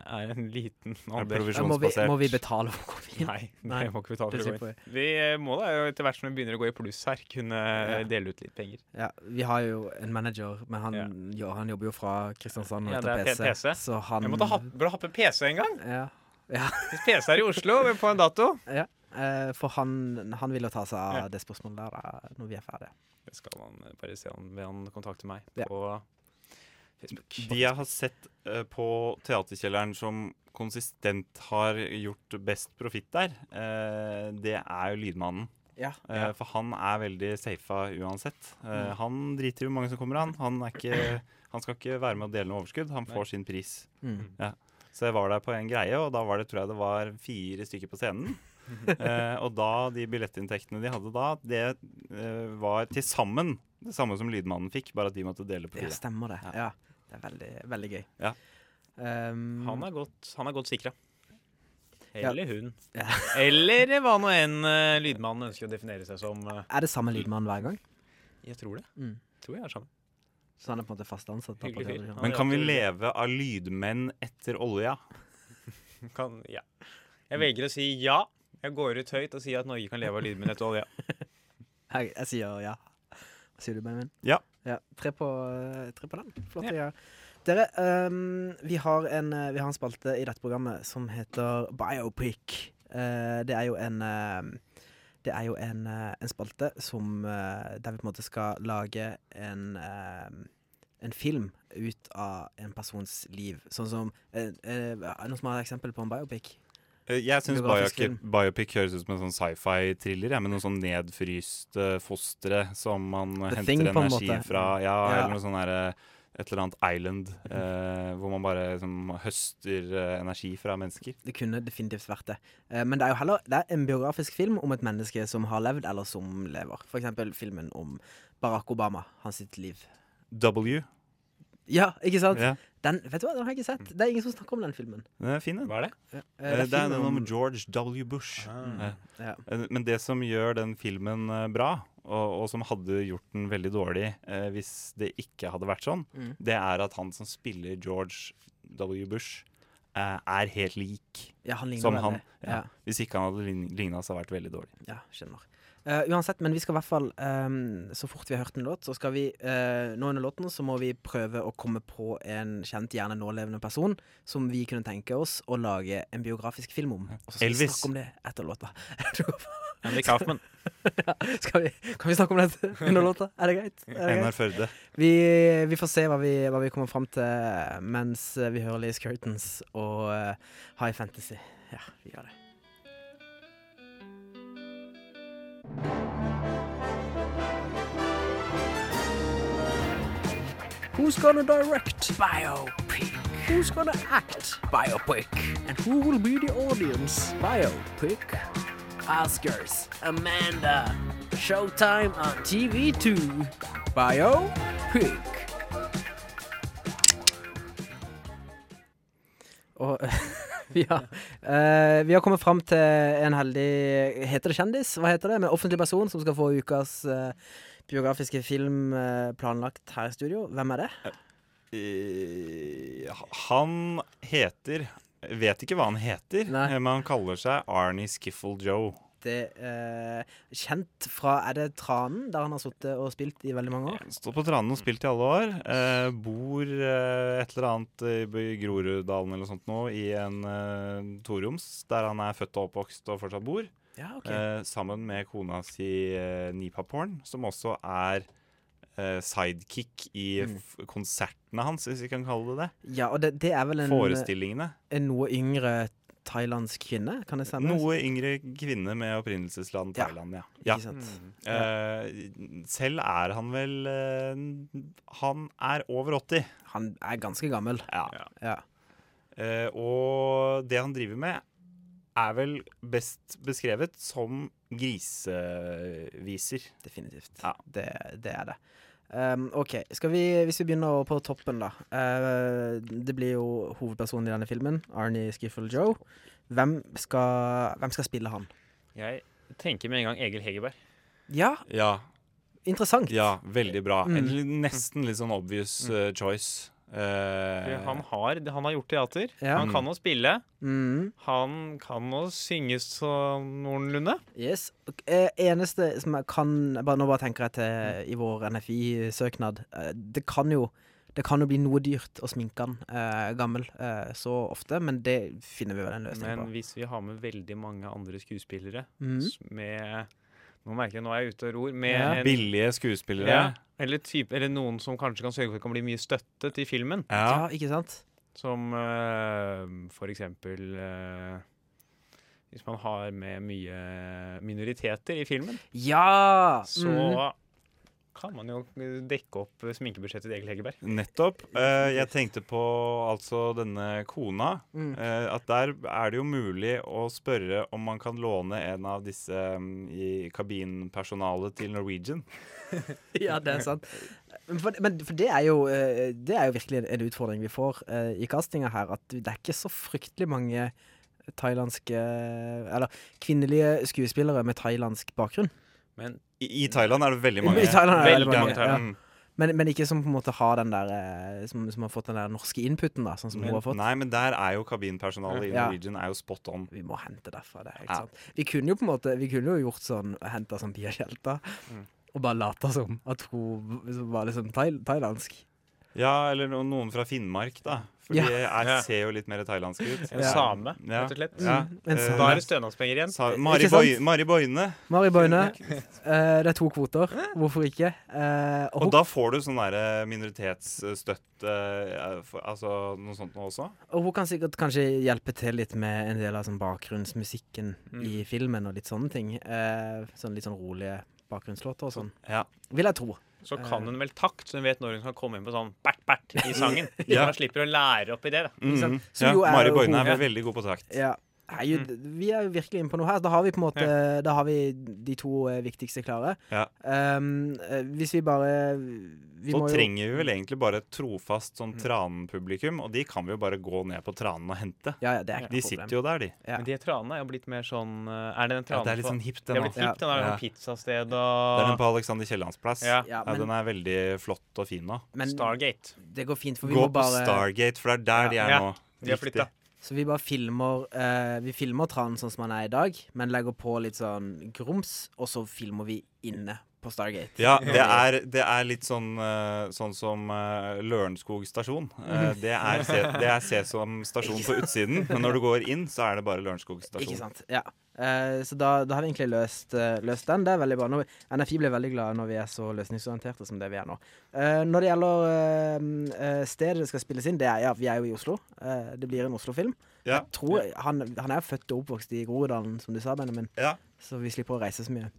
E: er en liten andel.
F: Eh, Må vi,
G: Provisjonsbasert.
F: må vi betale for koffein?
E: Nei, det
F: Nei,
E: må ikke vi ta for
F: det
E: å
F: slipper
E: gå inn. Vi eh, må da jo etter hvert som vi begynner å gå i pluss her, kunne eh, dele ut litt penger.
F: Ja, vi har jo en manager, men han,
E: Ja.
F: ja, han jobber jo fra Kristiansand og
E: Ja,
F: heter
E: det er
F: PC,
E: P- PC.
F: Så han
E: Jeg måtte ha, burde happe PC en gang.
F: Ja.
E: Hvis PC er i Oslo på en dato.
F: Eh, for han, han vil jo ta seg av
E: Ja.
F: det spørsmålet der da, når vi er ferdige.
E: Det skal han eh, bare se om vil han kontakte meg
F: Ja.
E: på Facebook.
G: De jeg har sett eh, på Teaterkjelleren som konsistent har gjort best profitt der, eh, det er jo Lydmannen.
F: Ja. Mm.
G: Eh, For han er veldig safa uansett. Eh, han driter i hvor mange som kommer, han. Han, er ikke, han skal ikke være med å dele noe overskudd. Han får sin pris.
F: Mm.
G: Så jeg var der på en greie, og da var det, tror jeg det var fire stykker på scenen. eh, og da, de billettinntektene de hadde da, det eh, var til sammen det samme som Lydmannen fikk, bare at de måtte dele på
F: Det
G: fire.
F: stemmer, det.
G: Ja.
F: Ja. Det er veldig, veldig gøy.
G: Ja.
F: Ehm,
E: Han er godt, han er godt sikra.
F: Ja.
E: Eller hun.
F: Ja.
E: Eller hva nå enn eh, lydmannen ønsker å definere seg som. eh,
F: er det samme lydmann hver gang?
E: Jeg tror det.
F: Mm.
E: Tror jeg er sammen.
F: Så han er på en måte fast ansatt? da på
E: Hyggelig fyr.
F: Teaterkjelleren?
G: Men kan vi leve av lydmenn etter olja?
E: Kan, ja. Jeg velger å si ja. Jeg går ut høyt og sier at Norge kan leve av lydmenn etter olje.
F: Jeg, jeg sier ja. Hva sier du, Benjamin?
G: Ja.
F: tre, på, eh, tre på den. Flott. Ja. Dere, ehm, vi, har en, eh, vi har en spalte i dette programmet som heter Biopic. Eh, det er jo en ehm, det er jo en, eh, en spalte som, eh, der vi på en måte skal lage en, ehm, en film ut av en persons liv. Sånn som eh, eh, Er det noen som har et eksempel på en biopic?
G: Eh, Jeg syns
F: Biografisk
G: biopic, biopic høres ut som en sånn sci-fi-thriller, ja, med noen sånn nedfryst eh, fostre som man eh,
F: The
G: henter
F: Thing, på en
G: energi
F: måte.
G: fra. Ja,
F: Ja.
G: eller noe sånn derre et eller annet island eh, hvor man bare liksom, høster eh, energi fra mennesker.
F: Det kunne definitivt vært det. Eh, Men det er jo heller det er en biografisk film om et menneske som har levd, eller som lever. For eksempel filmen om Barack Obama, hans sitt liv.
G: W.
F: Ja, ikke sant?
G: Ja.
F: Den, vet du hva, den har jeg ikke sett. Det er ingen som snakker om den filmen.
G: Den er fin, den.
E: Hva er det?
F: Eh,
G: Eh, Det er
F: filmen
G: den om George W. Bush. Eh,
F: Ah. ja.
G: Eh, Men det som gjør den filmen eh, bra, og, og som hadde gjort den veldig dårlig eh, hvis det ikke hadde vært sånn,
F: Mm.
G: det er at han som spiller George W. Bush, eh, er helt lik
F: ja, han ligner
G: som
F: veldig.
G: han. Ja.
F: Ja.
G: Hvis ikke han hadde ligna, så hadde det vært veldig dårlig.
F: Ja, skjønner. Eh, uansett, men vi skal i hvert fall ehm, Så fort vi har hørt en låt, så skal vi eh, Nå under låten så må vi prøve å komme på en kjent, gjerne nålevende person som vi kunne tenke oss å lage en biografisk film om. Og så skal vi
G: Elvis.
F: snakke om det etter låta. Er du god for-
E: Andy Kaufman.
F: skal vi, kan vi snakke om dette under låta? Er det greit? Er det greit?
G: NR Førde.
F: Vi, vi får se hva vi, hva vi kommer fram til mens eh, vi hører Liz Curtains og eh, High Fantasy. Ja, vi gjør det. Who's gonna direct? Biopic. Who's gonna act? Biopic. And who will be the audience? Biopic. Oscars. Amanda. Showtime on TV2. Biopic. Og vi har, eh, vi har kommet fram til en heldig Heter det kjendis? Hva heter det? Med offentlig person som skal få ukas eh, biografiske film eh, planlagt her i studio. Hvem er det?
G: Eh, Han heter Vet ikke hva han heter,
F: Nei.
G: eh, men han kaller seg Arnie Skiffle Joe.
F: det eh, kjent fra Er det Tranen, der han har sittet og spilt i veldig mange år?
G: Stått på tranen og spilt i alle år. Eh, bor eh, et eller annet i by- Groruddalen eller noe sånt nå, i en eh, toroms der han er født og oppvokst og fortsatt bor.
F: Ja, ok.
G: Eh, sammen med kona si eh, Nipa Porn, som også er eh, sidekick i
F: Mm.
G: f konsertene hans, hvis vi kan kalle det det.
F: ja, og det, det er vel en,
G: Forestillingene.
F: en noe yngre thailandsk kvinne, kan det stemme?
G: Noe yngre kvinne med opprinnelsesland
F: Ja.
G: Thailand, ja.
F: Ja.
G: ja. Eh, selv er han vel eh, Han er over 80.
F: Han er ganske gammel.
G: Ja.
F: Ja.
G: Eh, og det han driver med, er vel best beskrevet som griseviser.
F: Definitivt.
G: Ja.
F: Det, det er det. Ehm, OK, skal vi, hvis vi begynner på toppen, da. Eh, det blir jo hovedpersonen i denne filmen, Arnie Skiffle Joe. Hvem skal, hvem skal spille han?
E: Jeg tenker med en gang Egil Hegerberg.
F: Ja,
G: Ja,
F: interessant.
G: ja veldig bra.
F: Mm.
G: En, li- nesten litt sånn obvious eh, choice. Eh,
E: Fordi Han har, han har gjort teater.
F: Ja.
E: Han kan å spille.
F: Mm.
E: Han kan å synge sånn noenlunde.
F: Yes. Ok, eh, Eneste som jeg kan bare, Nå bare tenker jeg til i vår NFI-søknad. eh, Det kan jo det kan jo bli noe dyrt å sminke han eh, gammel eh, så ofte, men det finner vi vel en løsning
E: Men
F: på.
E: hvis vi har med veldig mange andre skuespillere
F: Mhm.
E: s- med Nå merker jeg, nå er jeg ute og ror. Med
F: Ja.
E: en,
G: Billige skuespillere.
E: ja, eller, type, eller noen som kanskje kan sørge for at det kan bli mye støtte til filmen.
G: Ja.
F: Ja, ikke sant?
E: Som eh, for eksempel eh, Hvis man har med mye minoriteter i filmen,
F: Ja!
E: så
F: mm.
E: kan man jo eh, dekke opp sminkebudsjettet til Egil Hegerberg.
G: Nettopp. Eh, jeg tenkte på altså denne kona.
F: Mm.
G: Eh, at der er det jo mulig å spørre om man kan låne en av disse mm, i kabinpersonalet til Norwegian.
F: Ja, det er sant. Men For, men for det, er jo, eh, det er jo virkelig en utfordring vi får eh, i castinga her, at det er ikke så fryktelig mange thailandske Eller kvinnelige skuespillere med thailandsk bakgrunn.
E: Men
G: I, I Thailand er det veldig mange.
F: I Thailand er det
E: Veldig
F: veldig
E: mange
F: mange. Ja.
G: Mm.
F: Men, men ikke som på en måte har den der eh, som, som har fått den der norske inputen, da, sånn som hun har fått.
G: Nei, men der er jo kabinpersonalet i
F: Ja.
G: Norwegian er jo spot on.
F: Vi må hente derfra, det er helt
G: Ja.
F: sant. Vi kunne jo på en måte Vi kunne jo gjort sånn henta sånn Pia Tjelta,
G: Mm.
F: og bare lata som at hun var liksom thail thailandsk.
G: Ja, eller no- noen fra Finnmark, da. For
F: Ja.
G: de er,
E: Ja.
G: ser jo litt mer thailandske ut.
E: en same,
G: Ja.
E: rett og slett.
G: Ja.
F: en
G: Eh,
E: Da er det stønadspenger igjen.
G: sa, Mari,
F: Ikke sant?
G: Boy, Mari Boine.
F: Mari Boine. eh, det er to kvoter. Hvorfor ikke? Eh, og,
G: Og
F: hun,
G: da får du sånn derre minoritetsstøtte eh, for- Altså noe sånt nå også?
F: og hun kan sikkert kanskje hjelpe til litt med en del av sånn bakgrunnsmusikken
G: Mm.
F: i filmen og litt sånne ting. Eh, sånn litt sånn rolige bakgrunnslåter og sånn.
G: Ja.
F: Vil jeg tro.
E: Så
G: eh.
E: kan hun vel takt, så hun vet når hun skal komme inn på sånn bert-bert i sangen.
G: Ja.
E: Så man slipper å lære opp i det. da.
G: Mhm.
F: sant? Som
G: ja.
F: jo er
G: Mari Boine er
F: hoved-
G: veldig god på takt.
F: Ja. Nei,
G: Mm.
F: jo, d- vi er jo virkelig inne på noe her. Da har vi på en måte Da har vi de to eh, viktigste klare.
G: Ja.
F: Ehm, eh, hvis vi bare vi
G: Så
F: må jo- Mm.
G: trenger vi vel egentlig bare et trofast sånn tranenpublikum, og de kan vi jo bare gå ned på tranen og hente.
F: ja, ja, det er ikke
G: De
F: noe problem.
G: sitter jo der, de.
F: Ja.
E: Men de tranene er jo blitt mer sånn eh, Er det den
G: Ja,
E: tranen
G: det er litt sånn hipt,
E: på det
G: den.
E: er
G: da.
E: blitt hipt, den er
G: Ja.
E: sånn pizzasted
G: Det er den
E: og
G: på Alexander Kiellands plass.
E: Ja.
F: Ja,
G: Ja,
F: men-
G: den er veldig flott og fin nå.
F: Men
E: Stargate.
F: det går fint, for vi
G: Gå
F: må
G: på
F: bare
G: Stargate, for det er der de er
E: Ja.
G: nå.
E: De har
G: Riktig.
E: flytta.
F: Så vi bare filmer eh, Vi filmer Tran sånn som han er i dag, men legger på litt sånn grums, og så filmer vi inne på Stargate.
G: Ja, det er, det er litt sånn, eh, sånn som eh, Lørenskog stasjon. Eh, Det er, se, det er Sesam stasjon på utsiden, men når du går inn, så er det bare Lørenskog
F: Ikke
G: stasjon.
F: sant. Ja. Eh, så da, da har vi egentlig løst, eh, løst den. Det er veldig bra. Nå, NFI blir veldig glad når vi er så løsningsorienterte som det vi er nå. Eh, når det gjelder eh, eh, stedet det skal spilles inn, det er ja, vi er jo i Oslo. Eh, det blir en Oslo-film.
G: Ja.
F: Jeg tror han, han er født og oppvokst i Groruddalen, som du sa, Benjamin,
G: Ja.
F: så vi slipper å reise så mye.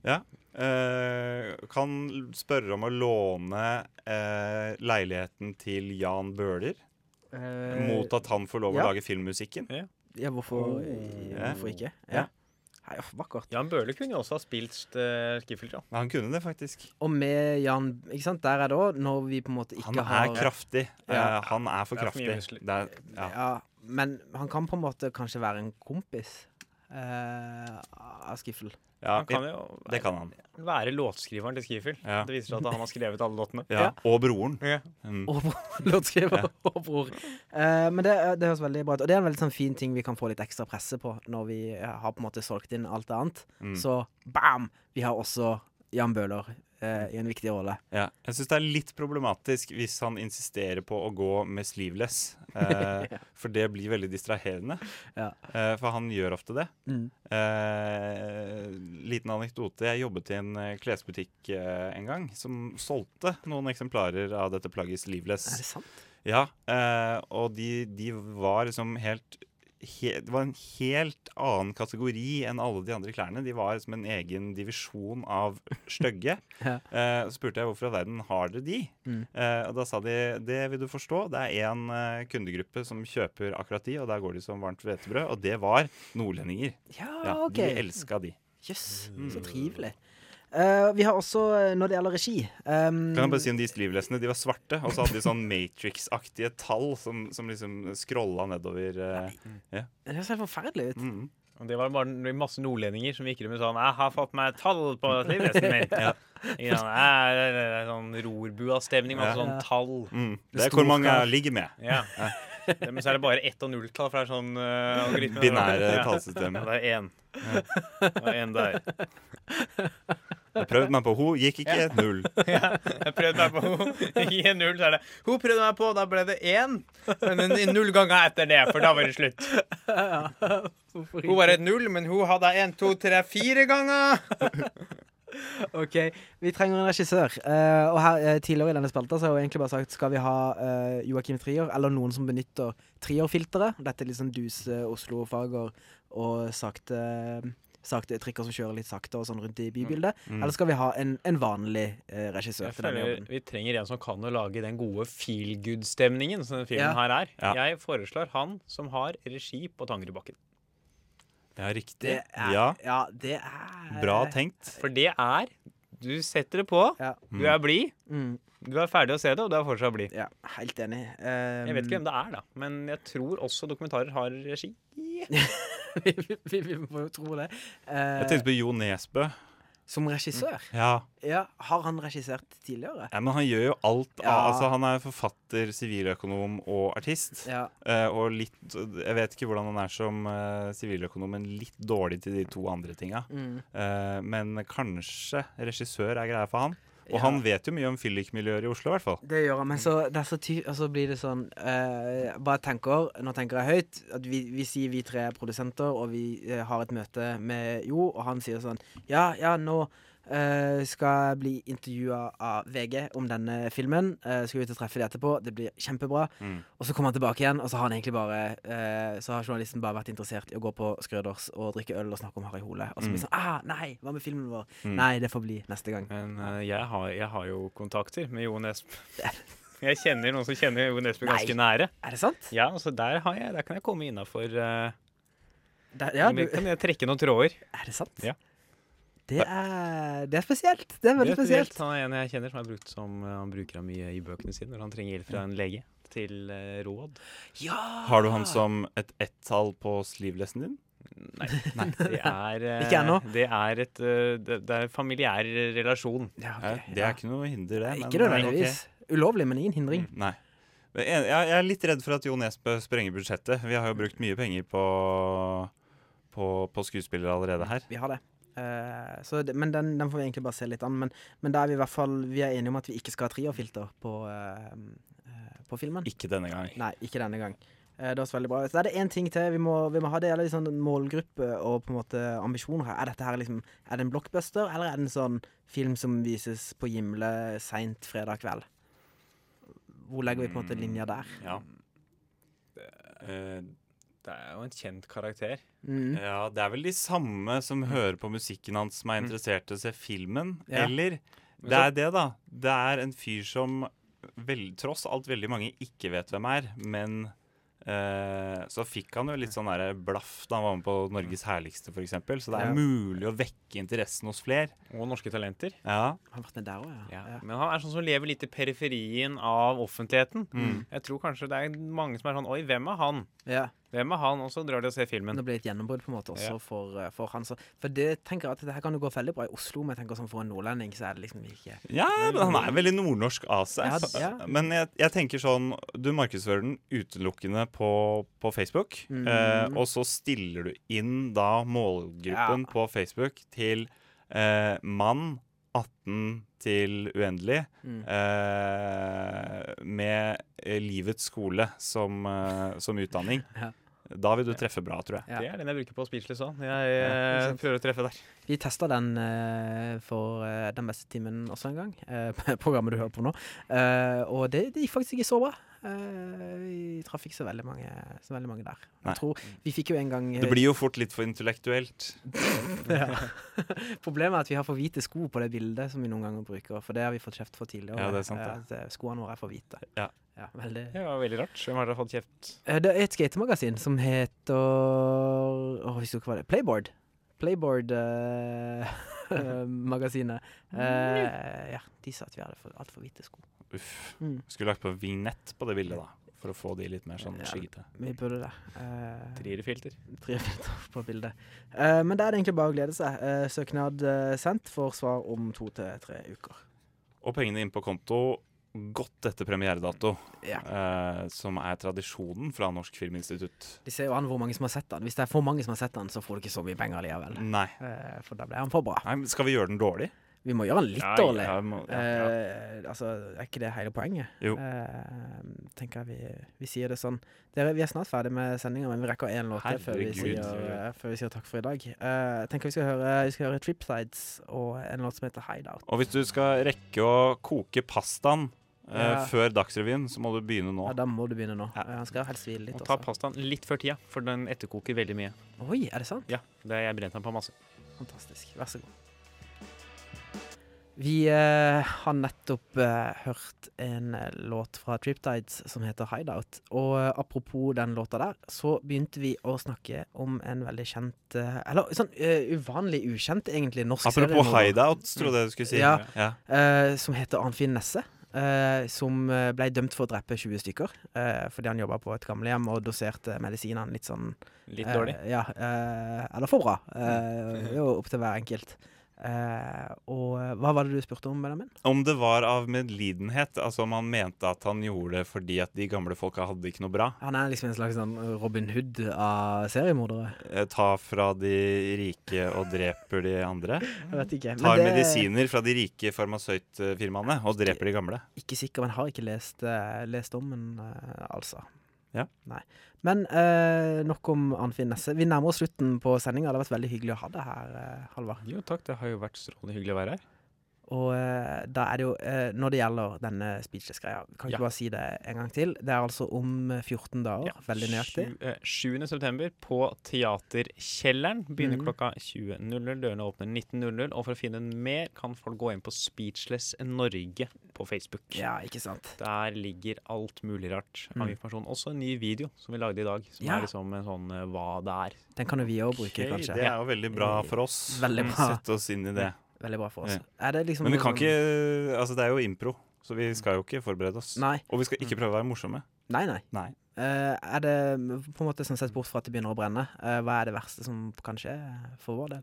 G: Eh, kan l- spørre om å låne eh, leiligheten til Jan Bøhler,
F: Eh,
G: mot at han får lov å
F: ja.
G: lage filmmusikken.
F: Ja, hvorfor,
G: Ja.
F: hvorfor ikke?
G: Ja.
F: Ja. Nei, åh, vakkert.
E: Jan Bøhler kunne jo også ha spilt uh, Skiffiltra.
G: Ja, Han kunne det, faktisk.
F: Og med Jan Ikke sant, der er det òg, når vi på en måte ikke
G: Han er
F: har
G: kraftig.
F: Ja.
G: Eh, han er for
E: Det er for
G: kraftig.
E: mye muskler.
G: Det er, ja.
F: Ja, men han kan på en måte kanskje være en kompis eh, av Skiffel.
G: Ja,
E: Han kan jo
G: det kan han.
E: være låtskriveren til Skiffil.
G: Ja.
E: Det viser seg at han har skrevet alle låtene.
G: Ja. Og broren.
E: Ja.
G: Mm.
F: Og bro- låtskriver og bror. Eh, men det, det høres veldig bra ut. Og det er en veldig sånn fin ting vi kan få litt ekstra presse på når vi eh, har på en måte solgt inn alt annet.
G: Mm.
F: Så bam! Vi har også Jan Bøhler eh, i en viktig rolle.
G: Ja. Jeg syns det er litt problematisk hvis han insisterer på å gå med sleeveless. Eh, for det blir veldig distraherende.
F: Ja.
G: Eh, for han gjør ofte det.
F: Mm.
G: Eh, liten anekdote. Jeg jobbet i en eh, klesbutikk eh, en gang som solgte noen eksemplarer av dette plagget sleeveless.
F: Er det sant?
G: Ja, eh, og de, de var liksom helt, he, Det var en helt annen kategori enn alle de andre klærne. De var liksom en egen divisjon av stygge.
F: Ja.
G: Eh, så spurte jeg hvorfor i all verden har dere de?
F: Mm.
G: Eh, og da sa de det vil du forstå, det er én eh, kundegruppe som kjøper akkurat de, og der går de som varmt hvetebrød. Og det var nordlendinger.
F: Ja,
G: Ja,
F: Ah, OK.
G: De elska de.
F: Jøss,
G: Mm.
F: så trivelig. Eh, vi har også, eh, når det gjelder regi ehm,
G: Kan jeg bare si om De sleevelessene, de var svarte, og så hadde de sånn Matrix-aktige tall som, som liksom scrolla nedover. Eh,
F: Det høres helt forferdelig ut.
G: mm.
E: Og det var bare masse nordlendinger som gikk rundt og sa Jeg har fått meg et tall på livvesten min. ja. Ikke sant? «Æ, det er- det er Sånn rorbua-stemning. Masse
G: Ja.
E: sånn tall.
G: Mm. Det er hvor mange jeg ligger med.
E: Ja. Det- Men så er det bare ett- og nulltall, for det er sånn uh, algoritme.
G: Binære
E: Ja. Ja,
G: tallsystemet.
E: det er én. Det er én der.
G: Jeg prøvde meg på ho, gikk ikke. Null.
E: Jeg prøvde meg på henne. I en null så er det Hun prøvde meg på, da ble det én. Men en- en null ganger etter det, for da var det slutt. Hun var et null, men hun hadde én, to, tre, fire ganger.
F: OK, vi trenger en regissør. Eh, og her, eh, tidligere i denne spalta så har jeg jo egentlig bare sagt skal vi ha eh, Joakim Trier, eller noen som benytter Trier-filteret. Dette er litt sånn duse Oslo-fager og sakte, sakte trikker som kjører litt sakte og sånn rundt
G: Mm.
F: i bybildet. Eller skal vi ha en, en vanlig eh, regissør til denne jobben?
E: vi trenger en som kan å lage den gode feel good-stemningen som denne filmen
F: Ja.
E: her er.
G: Ja.
E: Jeg foreslår han som har regi på Tangerudbakken.
G: Ja, riktig.
F: Det er, eh,
G: Ja,
F: ja, det er
G: bra tenkt.
E: For det er Du setter det på,
F: Ja.
E: du er blid,
F: Mm,
E: du er ferdig å se det, og du er fortsatt blid.
F: ja, helt enig.
E: Jeg vet ikke hvem det er, da, men jeg tror også dokumentarer har regi.
F: vi, vi, vi må jo tro det. Eh,
G: Jeg tenkte på Jo Nesbø.
F: som regissør?
G: Ja.
F: Ja, Har han regissert tidligere?
G: ja, men han gjør jo alt. av-
F: Ja.
G: Altså, han er forfatter, siviløkonom og artist.
F: Ja.
G: Eh, og litt Jeg vet ikke hvordan han er som eh, siviløkonom, men litt dårlig til de to andre tinga.
F: Mm.
G: Eh, men kanskje regissør er greia for han. Og
F: Ja.
G: han vet jo mye om fyllikmiljøer i Oslo, i hvert fall.
F: Det gjør han, men så, det er så ty og så blir det sånn eh, Bare tenker, Nå tenker jeg høyt. At vi, vi sier vi tre er produsenter, og vi eh, har et møte med Jo, og han sier sånn Ja, ja, nå eh, skal jeg bli intervjua av VG om denne filmen. Eh, skal ut og treffe de etterpå. Det blir kjempebra.
G: Mm.
F: Og så kommer han tilbake igjen, og så har han egentlig bare eh, Så har journalisten bare vært interessert i å gå på Skrøders og drikke øl og snakke om Harry Hole. Og så blir det sånn Ah, nei! Hva med filmen vår? Nei, det får bli neste gang.
E: Men eh, jeg, har, jeg har jo kontakter med Jo Nesbø. Jeg kjenner noen som kjenner Jo Nesbø ganske nære.
F: Er det sant?
E: Ja, så der, har jeg, der kan jeg komme innafor. Uh,
F: Det, ja, du,
E: Kan jeg trekke noen tråder?
F: Er det sant?
E: Ja.
F: Det er, det er spesielt. Det er veldig
E: Det er
F: spesielt.
E: Han er en jeg kjenner som er brukt som eh, Han bruker han mye i bøkene sine når han trenger hjelp fra en lege til eh, råd.
F: Ja!
G: Har du han som et ett-tall på sleevelesen din?
E: Nei, det er eh,
F: Ikke ennå.
E: Det er et eh, det, det er en familiær relasjon.
F: Ja, ok.
G: Eh, det er ikke noe hinder, det. men- eh,
F: Ikke nødvendigvis. Ulovlig, men ingen hindring.
G: Nei. Men Jeg, jeg er litt redd for at Jo Nesbø sprenger budsjettet. Vi har jo brukt mye penger på, på, på skuespillere allerede her.
F: Vi har det. Eh, så det men den, den får vi egentlig bare se litt an. Men, men da er vi i hvert fall Vi er enige om at vi ikke skal ha trierfilter på, eh, eh, på filmen.
G: Ikke denne gangen.
F: Nei, ikke denne gang. Eh, det høres veldig bra ut. Så er det én ting til. Vi må, vi må ha det eller liksom en målgruppe og på en måte ambisjoner her. Er dette her liksom Er det en blockbuster, eller er det en sånn film som vises på Gimle seint fredag kveld? Hvor legger vi på en måte linja der?
G: Ja. Eh,
E: Det er jo en kjent karakter.
F: Mm.
G: ja, det er vel de samme som hører på musikken hans som er interessert i å se filmen,
F: Mm. Ja.
G: eller?
E: Men
G: Det
E: så-
G: er det, da. Det er en fyr som vel, tross alt veldig mange ikke vet hvem er, men eh, så fikk han jo litt sånn der blaff da han var med på Norges herligste, f.eks. Så det er
F: Ja.
G: mulig å vekke interessen hos flere.
E: Og norske talenter.
G: Ja.
F: Har vært med der òg, ja. ja.
E: Men han er sånn som lever litt i periferien av offentligheten.
G: Mm.
E: Jeg tror kanskje det er mange som er sånn Oi, hvem er han?
F: ja.
E: Hvem er han? Og så drar de og ser filmen.
F: Det blir et gjennombrudd på en måte også
E: Ja.
F: for, eh, for han. Så, for det tenker jeg at det her kan jo gå veldig bra i Oslo, men jeg tenker sånn for en nordlending så er det liksom ikke
G: Ja, men han er veldig nordnorsk av seg.
F: Ja,
G: så-
F: ja.
G: Men jeg, jeg tenker sånn Du markedsfører den utelukkende på, på Facebook.
F: Mm.
G: Eh, og så stiller du inn da målgruppen på Facebook til eh, mann 18 til uendelig.
F: Mm.
G: Eh, med eh, livets skole som, eh, som utdanning.
F: Ja.
G: Da vil du treffe bra, tror jeg.
F: Ja.
E: Det er den jeg bruker på Speechless òg. Jeg eh,
F: sant.
E: prøver å treffe der.
F: Vi testa den eh, for eh, den beste timen også en gang, eh, programmet du hører på nå. Eh, og det, det gikk faktisk ikke så bra. Eh, vi traff ikke så veldig mange, så veldig mange der.
G: Nei.
F: Jeg tror, vi fikk jo en gang eh,
G: Det blir jo fort litt for intellektuelt.
F: Problemet er at vi har for hvite sko på det bildet som vi noen ganger bruker. For det har vi fått kjeft for tidligere.
G: Ja, det er sant,
F: eh, at, eh, skoene våre er for hvite.
G: Ja.
F: veldig.
E: Det var veldig rart. Hvem har da fått kjeft?
F: Eh, Det er et skatemagasin som heter Åh, jeg husker ikke hva det er. Playboard. eh, Playboard-magasinet. ja, de Eh, sa at vi hadde for, altfor hvite sko.
G: Uff.
F: Mm.
G: Skulle lagt på vignett på det bildet, da. For å få de litt mer sånn
F: Ja.
G: skiggete.
F: Vi burde det. Eh,
E: Trierfilter.
F: Tre filter på bildet. Eh, men det er det egentlig bare å glede seg. Eh, søknad eh, sendt. Får svar om to til tre uker.
G: Og pengene inn på konto godt etter premieredato,
F: Ja.
G: eh, som er tradisjonen fra Norsk Filminstitutt.
F: De ser jo an hvor mange som har sett den. Hvis det er for mange som har sett den, så får du ikke så mye penger likevel.
G: Nei.
F: Eh, for da blir han for bra.
G: Nei, men Skal vi gjøre den dårlig?
F: Vi må gjøre den litt
G: Ja,
F: dårlig.
G: ja, må- ja, ja.
F: Eh, altså, er ikke det hele poenget?
G: Jo.
F: Eh, tenker jeg vi, vi sier det sånn. Dere, vi er snart ferdig med sendinga, men vi rekker én låt til før, vi
G: Herregud.
F: sier, eh, før vi sier takk for i dag. Eh, jeg tenker vi skal høre, vi skal høre Tripsides og en låt som heter Hideout.
G: Og hvis du skal rekke å koke pastaen eh,
F: Ja.
G: før Dagsrevyen, så må du begynne nå.
F: Ja, da må du begynne nå.
G: Ja.
F: Eh, han skal helst hvile litt
E: Og ta
F: også.
E: pastaen litt før tida, for den etterkoker veldig mye.
F: Oi, er det sant?
E: Ja, det har jeg brent den på masse.
F: Fantastisk. Vær så god. Vi eh, har nettopp eh, hørt en eh, låt fra Triptides som heter 'Hideout'. Og eh, apropos den låta der, så begynte vi å snakke om en veldig kjent eh, Eller sånn eh, uvanlig ukjent, egentlig, norsk
G: Apropos
F: seriemorder,
G: hideout, trodde jeg du skulle si.
F: Ja. eh, som heter Arnfinn Nesse. eh, som eh, ble dømt for å drepe 20 stykker eh, fordi han jobba på et gamlehjem og doserte medisinene litt sånn
E: Litt
F: Eh,
E: dårlig.
F: ja, eh, eller for bra. Eh, det er jo opp til hver enkelt. Eh, og eh, hva var det du spurte om, Benjamin?
G: Om det var av medlidenhet, altså om han mente at han gjorde det fordi at de gamle folka hadde ikke noe bra.
F: Han er liksom en slags sånn Robin Hood av seriemordere.
G: Eh, Ta fra de rike og dreper de andre.
F: Jeg vet ikke. Men
G: Tar
F: det er
G: medisiner fra de rike farmasøytfirmaene og dreper de gamle.
F: Ikke sikker, men har ikke lest, eh, lest om den, eh, altså.
G: Ja.
F: Nei. Men eh, nok om Arnfinn Nesse. Vi nærmer oss slutten på sendinga. Det har vært veldig hyggelig å ha deg her, eh, Halvard.
E: Jo takk, det har jo vært strålende hyggelig å være her.
F: Og eh, da er det jo, eh, når det gjelder denne speechless-greia, kan
E: Ja.
F: vi ikke bare si det en gang til? Det er altså om eh, 14 dager. Veldig nøyaktig.
E: Sju- eh, 7. september på Teaterkjelleren. Begynner
F: Mhm.
E: klokka 20.00. Dørene åpner 19.00. Og for å finne mer kan folk gå inn på Speechless Norge på Facebook.
F: Ja, ikke sant.
E: Der ligger alt mulig rart av
F: Mm.
E: informasjon. Også en ny video som vi lagde i dag, som
F: Ja.
E: er liksom en sånn eh, hva det er.
F: Den kan jo vi òg bruke,
G: Ok,
F: kanskje.
G: Det er jo veldig bra for oss.
F: Veldig bra.
G: Sette oss inn i det.
F: Veldig bra for oss.
G: Ja.
F: Er det liksom
G: Men vi
F: noe
G: kan
F: sånn-
G: ikke Altså, det er jo impro, så vi skal jo ikke forberede oss.
F: Nei,
G: Og vi skal ikke prøve å være morsomme.
F: nei. nei.
G: Nei.
F: Eh, er det på en måte sånn sett bort fra at det begynner å brenne? eh, hva er det verste som kan skje for vår del?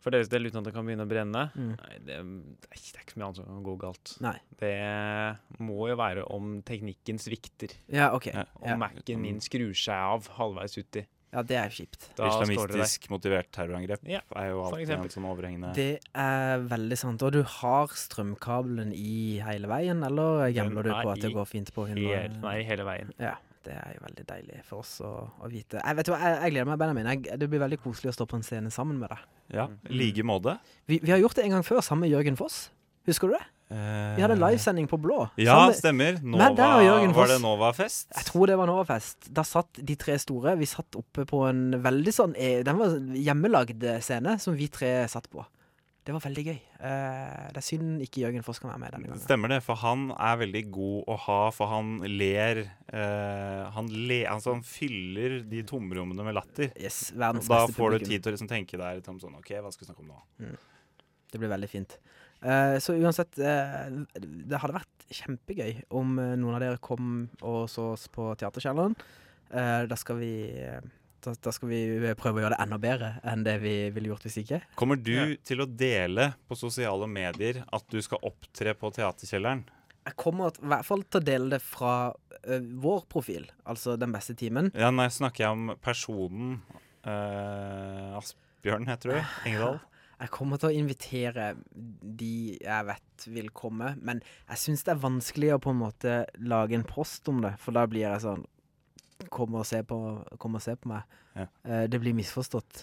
E: For deres del, uten at det kan begynne å brenne
F: Mm.
E: Nei, det, det er ikke det er ikke så mye annet som kan gå galt.
F: Nei.
E: Det må jo være om teknikken svikter,
F: Ja, OK.
G: Ja.
E: og
F: Ja.
E: Mac-en min skrur seg av halvveis uti.
F: Ja, det er jo kjipt.
E: Da står det der.
G: Islamistisk motivert terrorangrep
E: Ja,
G: er jo
E: for
G: alltid
E: eksempel.
G: en sånn overhengende
F: Det er veldig sant. Og du har strømkabelen i hele veien, eller gambler du
E: Den er
F: på at det
E: i
F: går fint på
E: Hele,
F: 100?
E: nei, hele veien.
F: Ja, det er jo veldig deilig for oss å, å vite. Jeg, vet du, hva, jeg, jeg gleder meg, Benjamin. Jeg, det blir veldig koselig å stå på en scene sammen med deg.
G: Ja,
E: Mm.
G: i like måte.
F: Vi, vi har gjort det en gang før sammen med Jørgen Foss. Husker du det? Vi hadde livesending på Blå.
G: Eh, Ja,
F: Sammen-
G: stemmer. Nova,
F: Men der er Jørgen
G: var
F: Foss.
G: det Nova-fest?
F: jeg tror det var Novafest. Da satt de tre store. Vi satt oppe på en veldig sånn eh, Den var en hjemmelagd scene som vi tre satt på. Det var veldig gøy. Eh, det er synd ikke Jørgen Foss kan være med denne gangen.
G: Stemmer det, for han er veldig god å ha, for han ler eh, han, le, altså han fyller de tomrommene med latter.
F: Yes,
G: Og
F: verdens
G: Da
F: beste
G: får du
F: publikum.
G: tid til å liksom tenke deg litt om sånn OK, hva skal vi snakke om nå?
F: Det blir veldig fint. Eh, så uansett, eh, det hadde vært kjempegøy om eh, noen av dere kom og så oss på Teaterkjelleren. Eh, da, skal vi, eh, da, da skal vi prøve å gjøre det enda bedre enn det vi ville gjort hvis ikke.
G: Kommer du til å dele på sosiale medier at du skal opptre på Teaterkjelleren?
F: Jeg kommer til- i hvert fall til å dele det fra ø, vår profil, altså Den beste timen.
G: Ja, nei, snakker jeg om personen eh, Asbjørn, heter du? Engedal?
F: Jeg kommer til å invitere de jeg vet vil komme, men jeg syns det er vanskelig å på en måte lage en post om det, for da blir jeg sånn Kom og se på, kom og se på meg.
G: Ja.
F: Eh, det blir misforstått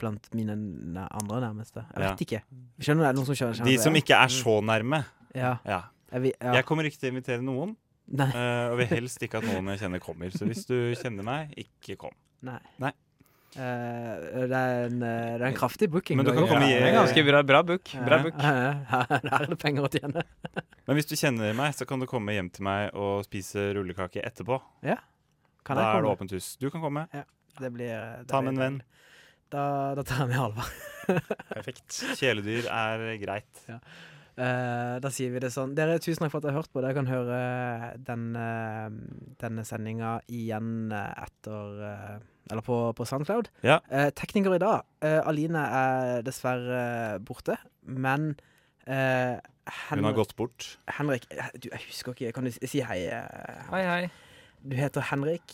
F: blant mine næ- andre nærmeste. Jeg
G: Ja.
F: vet ikke. Skjønner du? Er det noen som skjønner? skjønner
G: De
F: det?
G: som ikke er så nærme.
F: Ja.
G: Ja.
F: Jeg, vil- ja.
G: Jeg kommer ikke til å invitere noen,
F: Nei.
G: eh, og vil helst ikke at noen jeg kjenner, kommer. Så hvis du kjenner meg, ikke kom.
F: Nei.
G: Nei.
F: Eh, det, er en, eh, det er en kraftig booking.
G: Men du kan
F: har gjort
G: komme
F: der.
G: i-
E: Det er ganske bra, bra book. Bra
F: Ja,
E: book.
F: ja, ja. Her er det penger å tjene.
G: Men hvis du kjenner meg, så kan du komme hjem til meg og spise rullekake etterpå.
F: Kan
G: da
F: jeg
G: er det
F: komme?
G: åpent hus. Du kan komme.
F: Det blir, det
G: Ta
F: blir-
G: med en venn.
F: Da, da tar jeg med Halvard.
E: Perfekt.
G: Kjæledyr er greit.
F: Eh, da sier vi det sånn. Dere, tusen takk for at dere har hørt på. Dere kan høre denne, denne sendinga igjen eh, etter eh, Eller på, på Soundcloud.
G: Ja.
F: Eh, tekniker i dag. eh, Aline er dessverre eh, borte, men eh,
G: Hun har
F: Henrik,
G: gått bort.
F: Henrik eh, du, Jeg husker ikke. Kan du si- si hei? eh,
H: Hei, hei.
F: Du heter Henrik.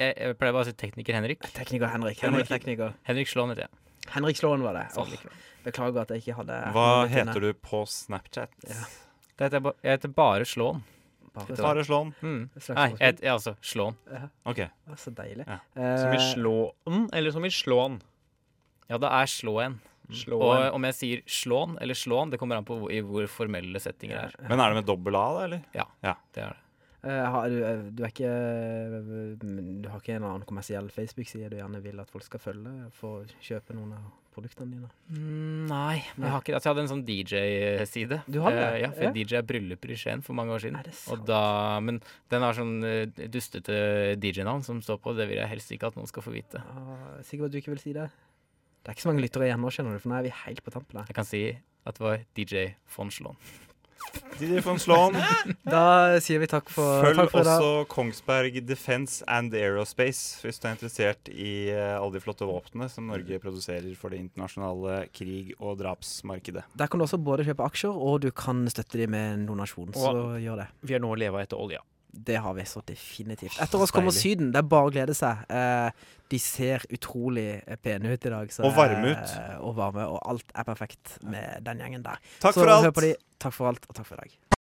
H: Jeg, jeg pleier bare å si tekniker Henrik.
F: Tekniker Henrik. Henrik, tekniker.
H: Henrik Slåen heter jeg.
F: Henrik Slåen var det.
H: Sånn
F: Åh,
H: liker jeg.
F: beklager at jeg ikke hadde
G: Hva heter du på Snapchat?
H: Det heter jeg, ba- jeg heter bare Slåen.
F: Bare
G: Bare Slåen.
H: Mm.
F: Slags
H: Nei, jeg,
F: forspill.
H: het- jeg altså Slåen.
G: OK.
F: Ah, Så deilig.
G: Ja.
E: Som i
F: Eh,
E: slåen, eller som i slåen?
H: Ja, det er Slåen.
E: Slåen.
H: Og eh, om jeg sier Slåen eller Slåen, det kommer an på hvor, i hvor formelle settinger det er.
G: Men er det med dobbel A, da, eller?
H: Det er det.
F: Eh, har, du, eh, du er ikke eh, Du har ikke en annen kommersiell Facebook-side du gjerne vil at folk skal følge for å kjøpe noen av produktene dine?
H: Mm, nei, men jeg har ikke det. Altså, jeg hadde en sånn DJ-side.
F: Du hadde det?
H: Eh, ja, for
F: Ja.
H: jeg DJ er brylluper i Skien for mange år siden.
F: Er det
H: Og
F: sant?
H: da, men den har sånn eh, dustete DJ-navn som står på. Det vil jeg helst ikke at noen skal få vite.
F: Ah, sikker på at du ikke vil si det? Det er ikke så mange lyttere igjen nå, skjønner du, for nå er vi helt på tampen her.
H: Jeg kan si at det var DJ von Slåen.
G: Didi von Slåen.
F: Da sier vi takk for,
G: Følg
F: takk for i dag.
G: også Kongsberg Defence and Aerospace hvis du er interessert i eh, alle de flotte våpnene som Norge produserer for det internasjonale krig- og drapsmarkedet.
F: Der kan du også både kjøpe aksjer, og du kan støtte dem med en donasjon. Så gjør det.
E: Vi har nå leva etter olja.
F: Det har vi så definitivt. Etter oss kommer Syden. Det er bare å glede seg. Eh, de ser utrolig pene ut i dag. så-
G: Og varme ut.
F: eh, og varme, og alt er perfekt med den gjengen der.
G: Takk
F: Så
G: for alt!
F: hør på de. Takk for alt, og takk for i dag.